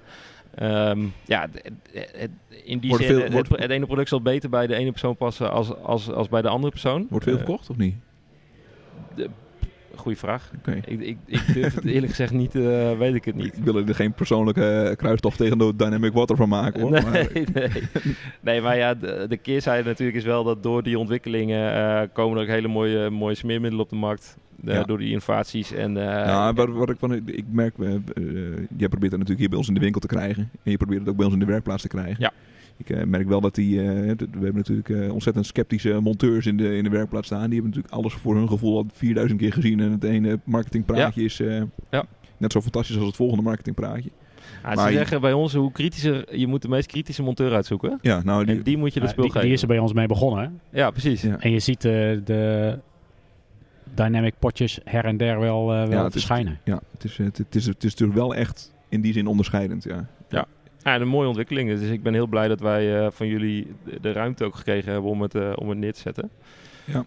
[SPEAKER 3] Ehm, ja, d- het- het- in die
[SPEAKER 1] Wordt
[SPEAKER 3] zin,
[SPEAKER 1] veel-
[SPEAKER 3] het,
[SPEAKER 1] wordt-
[SPEAKER 3] het ene product zal beter bij de ene persoon passen als, als, als bij de andere persoon.
[SPEAKER 1] Wordt veel
[SPEAKER 3] Eh,
[SPEAKER 1] verkocht of niet?
[SPEAKER 3] goeie vraag.
[SPEAKER 1] Oké.
[SPEAKER 3] Ik, ik, ik durf het eerlijk gezegd niet, eh, weet ik het niet.
[SPEAKER 1] Ik wil er geen persoonlijke eh, kruistocht tegen de Dynamic Water van maken hoor.
[SPEAKER 3] Nee,
[SPEAKER 1] Maar,
[SPEAKER 3] nee. nee, maar ja, de, de keerzijde natuurlijk is wel dat door die ontwikkelingen eh, komen er ook hele mooie, mooie smeermiddelen op de markt. eh,
[SPEAKER 1] Ja.
[SPEAKER 3] Door die innovaties. En, eh,
[SPEAKER 1] ja, Nou, wat, wat ik, van, ik merk, eh, eh, jij probeert het natuurlijk hier bij ons in de winkel te krijgen. En je probeert het ook bij ons in de werkplaats te krijgen.
[SPEAKER 3] Ja.
[SPEAKER 1] Ik eh, merk wel dat die, eh, d- we hebben natuurlijk eh, ontzettend sceptische monteurs in de, in de werkplaats staan. Die hebben natuurlijk alles voor hun gevoel al 4000 keer gezien. En het ene marketingpraatje is eh,
[SPEAKER 3] Ja.
[SPEAKER 1] net zo fantastisch als het volgende marketingpraatje.
[SPEAKER 3] ah,
[SPEAKER 1] maar
[SPEAKER 3] ze
[SPEAKER 1] je-
[SPEAKER 3] zeggen bij ons, hoe kritischer, je moet de meest kritische monteur uitzoeken.
[SPEAKER 1] Ja, nou, die,
[SPEAKER 3] En die moet je de
[SPEAKER 2] Ja,
[SPEAKER 3] spul
[SPEAKER 2] die,
[SPEAKER 3] geven.
[SPEAKER 2] die is er bij ons mee begonnen. hè.
[SPEAKER 3] Ja, precies.
[SPEAKER 1] Ja.
[SPEAKER 3] Ja.
[SPEAKER 2] En je ziet eh, de Dynamic potjes her en der wel, eh, wel
[SPEAKER 1] het is-
[SPEAKER 2] verschijnen.
[SPEAKER 1] Ja, het is, eh, het, het is, het is natuurlijk wel echt in die zin onderscheidend, ja.
[SPEAKER 3] een mooie ontwikkeling. Dus ik ben heel blij dat wij eh, van jullie de, de ruimte ook gekregen hebben om het, eh, om het neer te zetten.
[SPEAKER 1] Ja.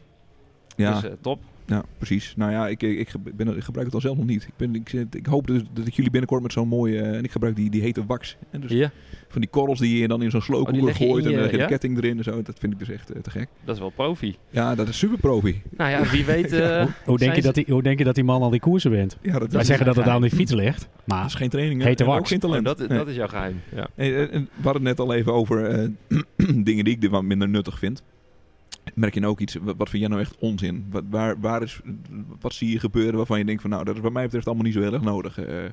[SPEAKER 1] Ja.
[SPEAKER 3] Dus eh, top.
[SPEAKER 1] Ja, precies. Nou ja, ik, ik, ik ben, ik gebruik het al zelf nog niet. Ik, ben, ik, zit- ik hoop dus dat ik jullie binnenkort met zo'n mooie... eh, en ik gebruik die, die hete wax. En dus
[SPEAKER 3] Ja,
[SPEAKER 1] van die korrels die je dan in zo'n
[SPEAKER 3] Oh, die
[SPEAKER 1] slowcooler
[SPEAKER 3] leg je in
[SPEAKER 1] gooit. En
[SPEAKER 3] je-
[SPEAKER 1] dan heb je
[SPEAKER 3] ja?
[SPEAKER 1] een ketting erin en zo. Dat vind ik dus echt eh, te gek.
[SPEAKER 3] dat is wel profi.
[SPEAKER 1] Ja, dat is super profi.
[SPEAKER 3] Nou ja, wie weet... eh,
[SPEAKER 2] Hoe, hoe denk
[SPEAKER 3] zijn
[SPEAKER 2] je
[SPEAKER 3] ze-
[SPEAKER 2] dat die, hoe denk je dat die man al die koersen wint?
[SPEAKER 1] Ja, dat,
[SPEAKER 2] Wij
[SPEAKER 1] is,
[SPEAKER 2] zeggen dat het
[SPEAKER 3] geheim.
[SPEAKER 2] aan die fiets ligt. Maar
[SPEAKER 1] dat is geen training. hè?
[SPEAKER 2] Hete
[SPEAKER 1] En ook
[SPEAKER 2] wax.
[SPEAKER 1] geen
[SPEAKER 3] nou Oh,
[SPEAKER 1] talent.
[SPEAKER 3] dat,
[SPEAKER 1] Nee.
[SPEAKER 3] dat is jouw geheim. Ja.
[SPEAKER 1] Hey, eh, en we hadden het net al even over eh, dingen die ik er wat minder nuttig vind. Merk je nou ook iets, wa- wat vind jij nou echt onzin? Wat, waar, waar is, wat zie je gebeuren waarvan je denkt van nou, dat is wat mij betreft allemaal niet zo heel erg nodig. eh.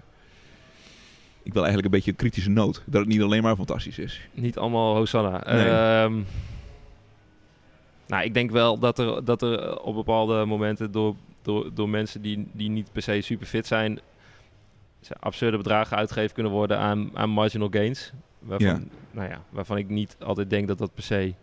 [SPEAKER 1] ik wil eigenlijk een beetje een kritische noot, dat het niet alleen maar fantastisch is.
[SPEAKER 3] Niet allemaal Hosanna.
[SPEAKER 1] Nee.
[SPEAKER 3] Ehm, nou, ik denk wel dat er, dat er eh, op bepaalde momenten door, door, door mensen die, die niet per se super fit zijn, ze- absurde bedragen uitgegeven kunnen worden aan, aan marginal gains. Waarvan,
[SPEAKER 1] Ja.
[SPEAKER 3] Nou ja, waarvan ik niet altijd denk dat dat per se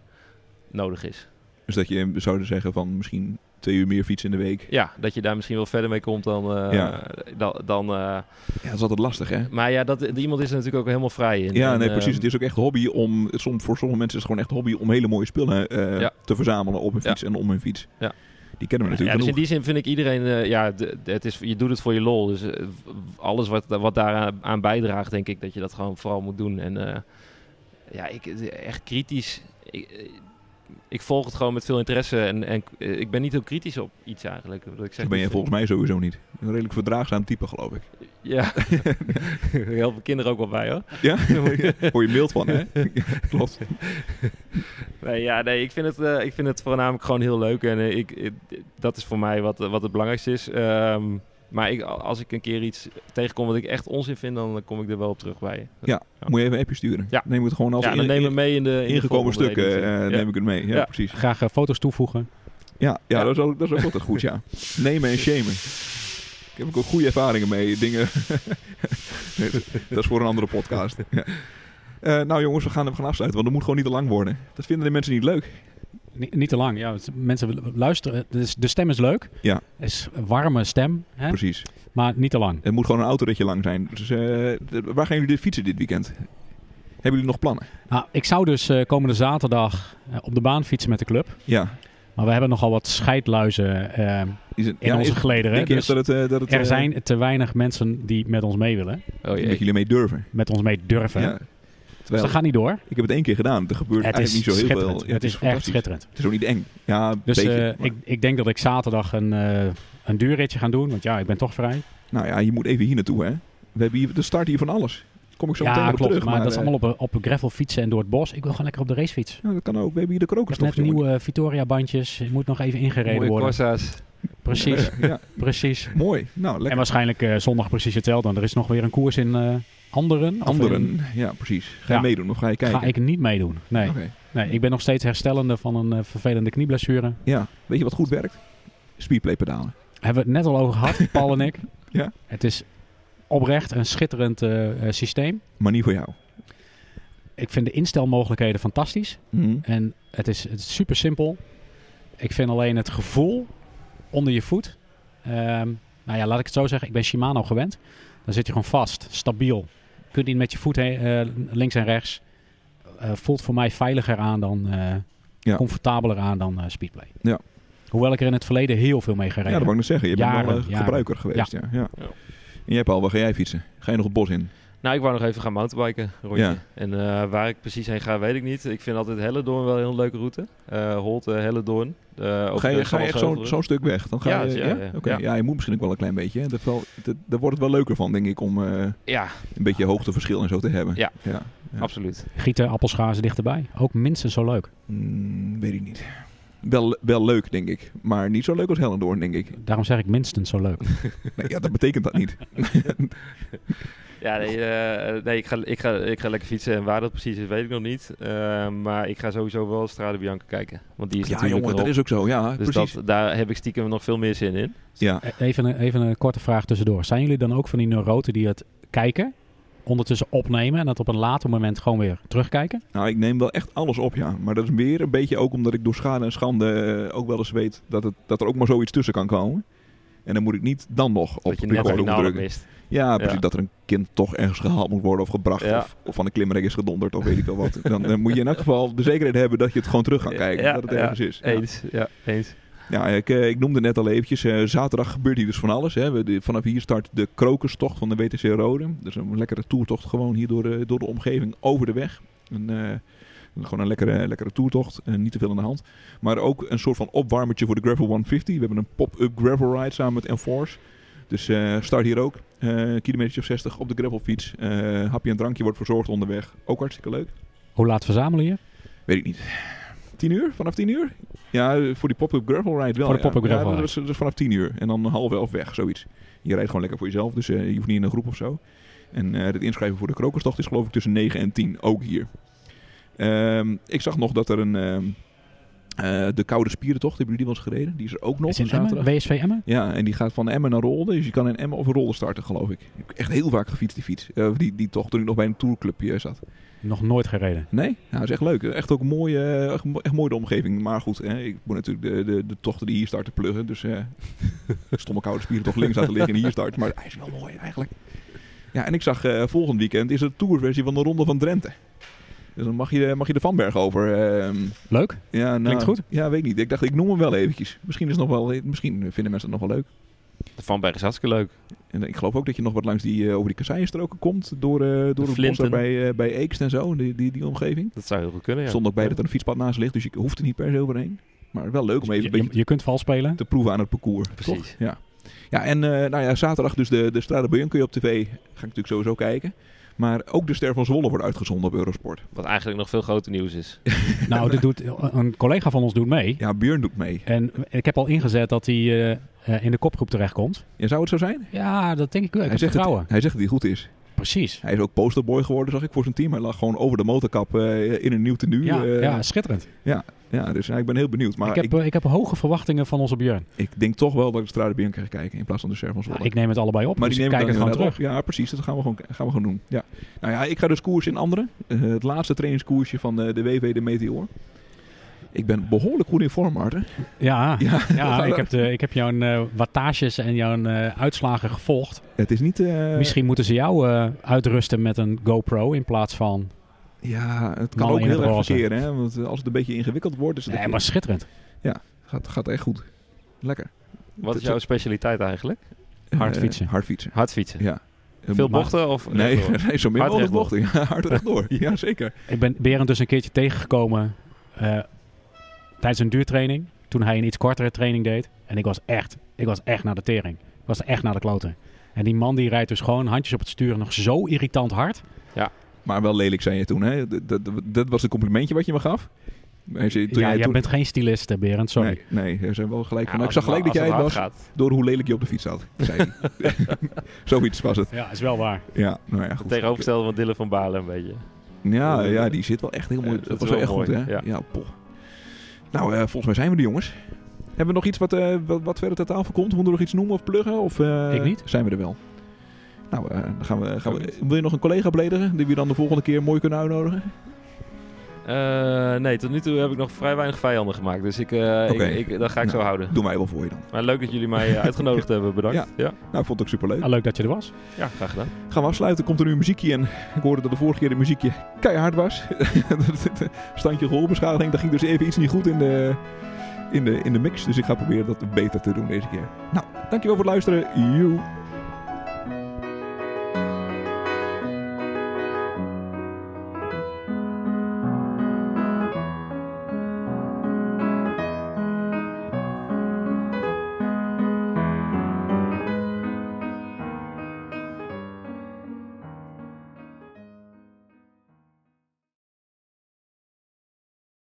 [SPEAKER 3] nodig is.
[SPEAKER 1] Dus dat je zou zeggen van misschien twee uur meer fietsen in de week.
[SPEAKER 3] Ja, dat je daar misschien wel verder mee komt dan. eh,
[SPEAKER 1] Ja.
[SPEAKER 3] dan, dan eh,
[SPEAKER 1] Ja, dat is altijd lastig hè?
[SPEAKER 3] maar ja, dat, iemand is er natuurlijk ook helemaal vrij in.
[SPEAKER 1] Ja,
[SPEAKER 3] En,
[SPEAKER 1] nee, precies.
[SPEAKER 3] ehm,
[SPEAKER 1] Het is ook echt hobby om, som, voor sommige mensen is het gewoon echt hobby om hele mooie spullen eh,
[SPEAKER 3] Ja.
[SPEAKER 1] te verzamelen op hun
[SPEAKER 3] Ja.
[SPEAKER 1] fiets en om hun fiets.
[SPEAKER 3] Ja.
[SPEAKER 1] Die kennen we natuurlijk
[SPEAKER 3] Ja, dus in
[SPEAKER 1] genoeg.
[SPEAKER 3] die zin vind ik iedereen, eh, ja, de- de- het is, je doet het voor je lol. Dus eh, w- alles wat, wat daaraan aan bijdraagt, denk ik dat je dat gewoon vooral moet doen. En eh, ja, ik, eh, echt kritisch. Ik, eh, ik volg het gewoon met veel interesse en, en eh, ik ben niet heel kritisch op iets eigenlijk. Wat ik zeg,
[SPEAKER 1] Dan ben je
[SPEAKER 3] niet-
[SPEAKER 1] volgens mij sowieso niet. Een redelijk verdraagzaam type, geloof ik.
[SPEAKER 3] Ja, heel veel kinderen ook wel bij hoor.
[SPEAKER 1] Ja? Hoor je mild van, hè? Klopt.
[SPEAKER 3] Nee, ja, nee, ik vind, het, eh, ik vind het voornamelijk gewoon heel leuk. En eh, ik, ik- dat is voor mij wat, wat het belangrijkste is. Ehm, maar ik, als ik een keer iets tegenkom wat ik echt onzin vind, dan eh, kom ik er wel op terug bij je.
[SPEAKER 1] Ja, moet je even een appje sturen.
[SPEAKER 3] Ja.
[SPEAKER 1] Neem het gewoon als
[SPEAKER 3] ja, dan
[SPEAKER 1] in-
[SPEAKER 3] neem ik mee in de in de
[SPEAKER 1] ingekomen
[SPEAKER 3] volgende
[SPEAKER 1] stukken eh,
[SPEAKER 3] editie.
[SPEAKER 1] neem ik het mee. Ja,
[SPEAKER 3] Ja.
[SPEAKER 1] precies.
[SPEAKER 2] graag eh, foto's toevoegen.
[SPEAKER 1] Ja, ja,
[SPEAKER 3] Ja.
[SPEAKER 1] Dat, is ook, dat is ook altijd goed, ja. Nemen en shamen. Ik heb ook goede ervaringen mee. Dingen... Nee, dat is voor een andere podcast. Ja. Eh, nou jongens, we gaan hem gaan afsluiten, want het moet gewoon niet te lang worden. Dat vinden de mensen niet leuk.
[SPEAKER 2] Ni- niet te lang. Ja, want mensen willen luisteren. Dus de stem is leuk.
[SPEAKER 1] Ja.
[SPEAKER 2] Het is een warme stem. Hè?
[SPEAKER 1] Precies.
[SPEAKER 2] Maar niet te lang.
[SPEAKER 1] Het moet gewoon een autoritje lang zijn. Dus, eh, de- waar gaan jullie fietsen dit weekend? Hebben jullie nog plannen?
[SPEAKER 2] Nou, ik zou dus eh, komende zaterdag eh, op de baan fietsen met de club.
[SPEAKER 1] Ja.
[SPEAKER 2] Maar we hebben nogal wat scheidluizen eh,
[SPEAKER 1] Is het,
[SPEAKER 2] in
[SPEAKER 1] ja,
[SPEAKER 2] onze
[SPEAKER 1] is-
[SPEAKER 2] gelederen. hè.
[SPEAKER 1] Denk je
[SPEAKER 2] Dus
[SPEAKER 1] echt dat het, eh, dat het,
[SPEAKER 2] er
[SPEAKER 1] eh,
[SPEAKER 2] zijn te weinig mensen die met ons mee willen.
[SPEAKER 3] Oh
[SPEAKER 1] dat
[SPEAKER 3] jee.
[SPEAKER 1] jullie mee durven.
[SPEAKER 2] Met ons mee durven.
[SPEAKER 1] Ja.
[SPEAKER 2] Dus
[SPEAKER 1] Terwijl,
[SPEAKER 2] dat gaat niet door.
[SPEAKER 1] ik heb het één keer gedaan. Er gebeurt
[SPEAKER 2] Het is
[SPEAKER 1] eigenlijk niet zo heel
[SPEAKER 2] schitterend.
[SPEAKER 1] veel. Ja,
[SPEAKER 2] het is echt
[SPEAKER 1] fantastisch.
[SPEAKER 2] schitterend.
[SPEAKER 1] Het is ook niet eng. Ja, een
[SPEAKER 2] Dus
[SPEAKER 1] beetje.
[SPEAKER 2] eh,
[SPEAKER 1] maar-
[SPEAKER 2] ik, ik denk dat ik zaterdag een, eh een duurritje ga doen. Want ja, ik ben toch vrij.
[SPEAKER 1] nou ja, je moet even hier naartoe, hè. We hebben hier de start hier van alles. Kom ik zo meteen
[SPEAKER 2] ja,
[SPEAKER 1] op
[SPEAKER 2] klopt.
[SPEAKER 1] terug.
[SPEAKER 2] maar, dat is
[SPEAKER 1] eh,
[SPEAKER 2] allemaal op, een- op een gravel fietsen en door het bos. Ik wil gewoon lekker op de racefiets. Ik
[SPEAKER 1] ja, dat kan ook. We hebben hier de
[SPEAKER 2] heb
[SPEAKER 1] krokenstof.
[SPEAKER 2] net nieuwe eh, Victoria-bandjes. Het moet nog even ingereden
[SPEAKER 3] Mooie
[SPEAKER 2] worden.
[SPEAKER 3] Corsa's.
[SPEAKER 2] Precies,
[SPEAKER 1] Ja,
[SPEAKER 2] precies.
[SPEAKER 1] mooi. Nou,
[SPEAKER 2] En
[SPEAKER 1] lekker.
[SPEAKER 2] waarschijnlijk eh, zondag precies hetzelfde. Want er is nog weer een koers in eh, Anderen. Of in-
[SPEAKER 1] Anderen. Ja, precies. Ga je
[SPEAKER 2] Ja.
[SPEAKER 1] meedoen of ga je kijken? Oh.
[SPEAKER 2] Ga ik niet meedoen. Nee.
[SPEAKER 1] Oké.
[SPEAKER 2] nee, ik ben nog steeds herstellende van een eh, vervelende knieblessure.
[SPEAKER 1] Ja, weet je wat goed werkt? Speedplay pedalen.
[SPEAKER 2] Hebben we het net al over gehad, Paul en ik.
[SPEAKER 1] Ja.
[SPEAKER 2] Het is oprecht een schitterend eh, eh, systeem.
[SPEAKER 1] Maar niet voor jou.
[SPEAKER 2] Ik vind de instelmogelijkheden fantastisch.
[SPEAKER 1] Mhm.
[SPEAKER 2] En het is, het is super simpel. Ik vind alleen het gevoel onder je voet. Ehm, nou ja, laat ik het zo zeggen. Ik ben Shimano gewend. Dan zit je gewoon vast, stabiel. Je kunt niet met je voet heen, eh, links en rechts. Eh, voelt voor mij veiliger aan dan... eh,
[SPEAKER 1] Ja.
[SPEAKER 2] comfortabeler aan dan eh, Speedplay.
[SPEAKER 1] Ja.
[SPEAKER 2] Hoewel ik er in het verleden heel veel mee
[SPEAKER 1] Ja,
[SPEAKER 2] gereden
[SPEAKER 1] dat wou ik net zeggen. Je bent wel
[SPEAKER 2] Jaren,
[SPEAKER 1] een
[SPEAKER 2] jaren.
[SPEAKER 1] gebruiker geweest. Ja. Ja.
[SPEAKER 3] Ja.
[SPEAKER 1] En jij Paul, waar ga jij fietsen? Ga je nog het bos in?
[SPEAKER 3] Nou, ik wou nog even gaan mountainbiken, rondje.
[SPEAKER 1] Ja.
[SPEAKER 3] En eh, waar ik precies heen ga, weet ik niet. Ik vind altijd Helledoorn wel een heel leuke route. Eh Holte, Helledoorn. Eh, over
[SPEAKER 1] Ga
[SPEAKER 3] de
[SPEAKER 1] je, ga je echt zo'n
[SPEAKER 3] Zalsheuvelrug.
[SPEAKER 1] zo'n stuk weg? Dan ga
[SPEAKER 3] Ja,
[SPEAKER 1] je,
[SPEAKER 3] ja, ja.
[SPEAKER 1] Oké,
[SPEAKER 3] Ja.
[SPEAKER 1] ja, je moet misschien ook wel een klein beetje. Hè? Dat wel, dat, daar wordt het wel leuker van, denk ik, om eh,
[SPEAKER 3] Ja,
[SPEAKER 1] een beetje hoogteverschil en zo te hebben.
[SPEAKER 3] Ja.
[SPEAKER 1] ja. Ja.
[SPEAKER 3] absoluut.
[SPEAKER 2] Gieten, appelschazen dichterbij. Ook minstens zo leuk.
[SPEAKER 1] Mm, weet ik niet. Wel, wel leuk, denk ik. Maar niet zo leuk als Hellendoorn, denk ik.
[SPEAKER 2] Daarom zeg ik minstens zo leuk.
[SPEAKER 1] Nee, ja, dat betekent dat niet.
[SPEAKER 3] Ja, nee, eh, nee ik, ga, ik, ga, ik ga lekker fietsen. En waar dat precies is, weet ik nog niet. Eh, maar ik ga sowieso wel Strade Bianca kijken. Want die is
[SPEAKER 1] Ja,
[SPEAKER 3] natuurlijk
[SPEAKER 1] jongen, dat
[SPEAKER 3] erop.
[SPEAKER 1] is ook zo. Ja,
[SPEAKER 3] Dus
[SPEAKER 1] precies.
[SPEAKER 3] dat, daar heb ik stiekem nog veel meer zin in.
[SPEAKER 1] Ja.
[SPEAKER 2] E- Even een, even een korte vraag tussendoor. Zijn jullie dan ook van die neuroten die het kijken, ondertussen opnemen en dat op een later moment gewoon weer terugkijken?
[SPEAKER 1] Nou, ik neem wel echt alles op, ja. Maar dat is weer een beetje ook omdat ik door schade en schande eh, ook wel eens weet dat, het, dat er ook maar zoiets tussen kan komen. En dan moet ik niet dan nog op
[SPEAKER 3] dat je net
[SPEAKER 1] record
[SPEAKER 3] een finale
[SPEAKER 1] drukken.
[SPEAKER 3] mist.
[SPEAKER 1] Ja, precies.
[SPEAKER 3] Ja.
[SPEAKER 1] Dat er een kind toch ergens gehaald moet worden of gebracht.
[SPEAKER 3] Ja.
[SPEAKER 1] Of, of van de klimrek is gedonderd of weet ik wel wat. Dan, eh, moet je in elk geval de zekerheid hebben dat je het gewoon terug gaat kijken.
[SPEAKER 3] Ja,
[SPEAKER 1] dat het
[SPEAKER 3] ja.
[SPEAKER 1] ergens is. Ja.
[SPEAKER 3] Eens, ja, eens.
[SPEAKER 1] Ja, ik, eh, ik noemde net al eventjes, eh, zaterdag gebeurt hier dus van alles. Hè. We, de- vanaf hier start de krokustocht van de WTC Rode. Dus een lekkere toertocht gewoon hier door, eh, door de omgeving, over de weg. Een, eh, een- gewoon een lekkere, lekkere toertocht, eh, niet te veel aan de hand. Maar ook een soort van opwarmertje voor de Gravel 150. We hebben een pop-up gravel ride samen met Enforce. Dus eh, start hier ook, eh kilometer of 60 op de gravelfiets. Eh hapje en drankje wordt verzorgd onderweg. Ook hartstikke leuk.
[SPEAKER 2] Hoe laat verzamelen je?
[SPEAKER 1] Weet ik niet. 10 uur? Vanaf 10 uur? Ja, voor die pop-up gravel ride wel.
[SPEAKER 2] Voor de
[SPEAKER 1] ja.
[SPEAKER 2] pop-up gravel
[SPEAKER 1] Ja, dat
[SPEAKER 2] ride.
[SPEAKER 1] is, dat is vanaf 10 uur. En dan half elf weg, zoiets. Je rijdt gewoon lekker voor jezelf, dus eh, je hoeft niet in een groep of zo. En eh het inschrijven voor de krokustocht is geloof ik tussen 9 en 10, ook hier. Ehm, ik zag nog dat er een... ehm, eh, de Koude Spierentocht, hebben jullie die wel eens gereden? Die is er ook nog,
[SPEAKER 2] Is in
[SPEAKER 1] zaterdag.
[SPEAKER 2] Emmen? WSV Emmen?
[SPEAKER 1] Ja, en die gaat van Emmen naar Rolde. Dus je kan in Emmen of Rolde starten, geloof ik. Ik heb echt heel vaak gefietst, die fiets. Eh, die, die tocht, toen ik nog bij een tourclubje eh, zat.
[SPEAKER 2] Nog nooit gereden.
[SPEAKER 1] Nee, nou, is echt leuk. Echt ook mooi, eh, echt, mo- echt mooi de omgeving. Maar goed, hè, ik moet natuurlijk de, de, de tochten die hier starten pluggen. Dus eh stomme koude spieren toch links laten liggen en hier starten. Maar hij is wel mooi eigenlijk. Ja, en ik zag eh, volgend weekend is er een tourversie van de Ronde van Drenthe. Dus dan mag je, mag je de Van Berg over. ehm,
[SPEAKER 2] Leuk.
[SPEAKER 1] ja, nou,
[SPEAKER 2] Klinkt goed.
[SPEAKER 1] Ja, weet ik niet. Ik dacht, ik noem hem wel eventjes. Misschien, is het nog wel, eh, misschien vinden mensen het nog wel leuk.
[SPEAKER 3] De Van Berg is hartstikke leuk.
[SPEAKER 1] En eh, ik geloof ook dat je nog wat langs die, eh, over die kasseienstroken komt. Door, eh door het bos
[SPEAKER 3] Flinten.
[SPEAKER 1] daar bij, eh, bij Eekst en zo. Die, die, die omgeving.
[SPEAKER 3] Dat zou heel goed kunnen, ja.
[SPEAKER 1] Stond ook bij dat er een fietspad naast ligt, dus ik hoefde niet per se overheen. Maar wel leuk om even
[SPEAKER 2] je,
[SPEAKER 1] een beetje
[SPEAKER 2] je, je kunt vals spelen.
[SPEAKER 1] te proeven aan het parcours.
[SPEAKER 3] Precies.
[SPEAKER 1] Toch? Ja. ja, en eh, nou ja, zaterdag dus de, de Strade Bianca kun je op tv. Ga ik natuurlijk sowieso kijken. Maar ook de Ster van Zwolle wordt uitgezonden op Eurosport.
[SPEAKER 3] Wat eigenlijk nog veel groter nieuws is.
[SPEAKER 2] Nou, dit doet, een collega van ons doet mee.
[SPEAKER 1] Ja, Björn doet mee.
[SPEAKER 2] En ik heb al ingezet dat hij eh, eh, in de kopgroep terechtkomt.
[SPEAKER 1] Ja, zou het zo zijn?
[SPEAKER 2] Ja, dat denk ik wel. Ik
[SPEAKER 1] hij,
[SPEAKER 2] heb
[SPEAKER 1] zegt dat,
[SPEAKER 2] vertrouwen.
[SPEAKER 1] hij zegt dat hij goed is.
[SPEAKER 2] Precies.
[SPEAKER 1] Hij is ook posterboy geworden, zag ik, voor zijn team. Hij lag gewoon over de motorkap eh, in een nieuw tenue.
[SPEAKER 2] Ja,
[SPEAKER 1] eh,
[SPEAKER 2] ja, schitterend.
[SPEAKER 1] ja, dus ja, ik ben heel benieuwd. Maar
[SPEAKER 2] ik,
[SPEAKER 1] ik,
[SPEAKER 2] heb,
[SPEAKER 1] ik,
[SPEAKER 2] eh, ik heb hoge verwachtingen van onze Björn.
[SPEAKER 1] denk toch wel dat ik de Strade Bianca ga kijken in plaats van de Ster van Zwolle.
[SPEAKER 2] Nou, ik neem het allebei op,
[SPEAKER 1] Maar
[SPEAKER 2] dus
[SPEAKER 1] die
[SPEAKER 2] ik
[SPEAKER 1] neem
[SPEAKER 2] kijk
[SPEAKER 1] ik
[SPEAKER 2] het
[SPEAKER 1] dan
[SPEAKER 2] gewoon terug.
[SPEAKER 1] inderdaad op. Ja, precies. Dat gaan we gewoon, gaan we gewoon doen. Ja. Nou ja, ik ga dus koers in anderen. Eh, het laatste trainingskoersje van eh, de WW de Meteor. Ik ben behoorlijk goed in vorm, Maarten.
[SPEAKER 2] Ja,
[SPEAKER 1] Ja,
[SPEAKER 2] Ah, ja ik, heb de, ik heb jouw eh, wattages en jouw eh, uitslagen gevolgd.
[SPEAKER 1] Het is niet... eh,
[SPEAKER 2] Misschien moeten ze jou eh, uitrusten met een GoPro in plaats van...
[SPEAKER 1] Ja, het kan
[SPEAKER 2] Mannen
[SPEAKER 1] ook
[SPEAKER 2] in
[SPEAKER 1] heel
[SPEAKER 2] het
[SPEAKER 1] erg
[SPEAKER 2] roze.
[SPEAKER 1] verkeren. Hè? Want eh, als het een beetje ingewikkeld wordt, is het
[SPEAKER 2] Nee, maar schitterend.
[SPEAKER 1] gaat, gaat echt goed. Lekker.
[SPEAKER 3] Wat is
[SPEAKER 1] Dat-
[SPEAKER 3] jouw specialiteit eigenlijk?
[SPEAKER 2] Hard
[SPEAKER 1] Eh,
[SPEAKER 2] fietsen.
[SPEAKER 1] hard fietsen.
[SPEAKER 3] Hard fietsen.
[SPEAKER 1] Ja.
[SPEAKER 3] Veel
[SPEAKER 1] Maar-
[SPEAKER 3] bochten of...
[SPEAKER 1] Nee, nee, zo min mogelijk
[SPEAKER 3] Hard rechtdoor.
[SPEAKER 1] bochten. Ja, hard rechtdoor. ja, zeker.
[SPEAKER 2] Ik ben Berend dus een keertje tegengekomen eh, tijdens een duurtraining. Toen hij een iets kortere training deed. En ik was echt, ik was echt naar de tering. Ik was echt naar de kloten. En die man die rijdt dus gewoon handjes op het stuur nog zo irritant hard.
[SPEAKER 1] Maar wel lelijk zijn je toen. Hè? Dat, dat, dat was het complimentje wat je me gaf. Als je- toen
[SPEAKER 2] ja,
[SPEAKER 1] jij
[SPEAKER 2] jij
[SPEAKER 1] toen-
[SPEAKER 2] bent geen stylist, hè, Berend, sorry.
[SPEAKER 1] Nee, nee, er zijn wel gelijk
[SPEAKER 3] Ja,
[SPEAKER 1] van.
[SPEAKER 3] als
[SPEAKER 1] ik zag
[SPEAKER 3] het-
[SPEAKER 1] gelijk dat
[SPEAKER 3] als
[SPEAKER 1] jij het
[SPEAKER 3] hard
[SPEAKER 1] was.
[SPEAKER 3] gaat.
[SPEAKER 1] door hoe lelijk je op de fiets zat, zei hij. Zoiets was het.
[SPEAKER 2] Ja, is wel waar.
[SPEAKER 1] Ja, nou ja, goed.
[SPEAKER 3] Tegenovergestelde van Dylan van Balen een beetje.
[SPEAKER 1] Ja, ja, die zit wel echt heel mooi.
[SPEAKER 3] Ja,
[SPEAKER 1] dat,
[SPEAKER 3] dat
[SPEAKER 1] was
[SPEAKER 3] is
[SPEAKER 1] wel
[SPEAKER 3] wel
[SPEAKER 1] echt goed,
[SPEAKER 3] mooi,
[SPEAKER 1] hè? Ja,
[SPEAKER 3] ja.
[SPEAKER 1] poh. Nou, eh, volgens mij zijn we de jongens. Hebben we nog iets wat, eh, wat, wat verder ter tafel komt? Moeten we nog iets noemen of pluggen? Of, eh,
[SPEAKER 2] Ik niet.
[SPEAKER 1] Zijn we er wel? Nou, eh, dan gaan we, gaan we, wil je nog een collega beledigen die we dan de volgende keer mooi kunnen uitnodigen?
[SPEAKER 3] Eh, nee, tot nu toe heb ik nog vrij weinig vijanden gemaakt. Dus ik, eh,
[SPEAKER 1] Oké.
[SPEAKER 3] ik, ik- dat ga ik
[SPEAKER 1] Nou.
[SPEAKER 3] zo houden.
[SPEAKER 1] Doen wij wel voor je dan.
[SPEAKER 3] Maar leuk dat jullie mij eh, uitgenodigd hebben. Bedankt.
[SPEAKER 1] Ja.
[SPEAKER 3] Ja. Ja.
[SPEAKER 1] Nou, ik vond het ook superleuk.
[SPEAKER 2] Ah, leuk dat je er was.
[SPEAKER 3] graag gedaan.
[SPEAKER 1] Gaan we afsluiten. Komt er nu een muziekje in. Ik hoorde dat de vorige keer de muziekje keihard was. Dat- eh, Standje gehoorbeschadiging. Daar ging dus even iets niet goed in de, in, de, in de mix. Dus ik ga proberen dat beter te doen deze keer. Nou, dankjewel voor het luisteren. Joe.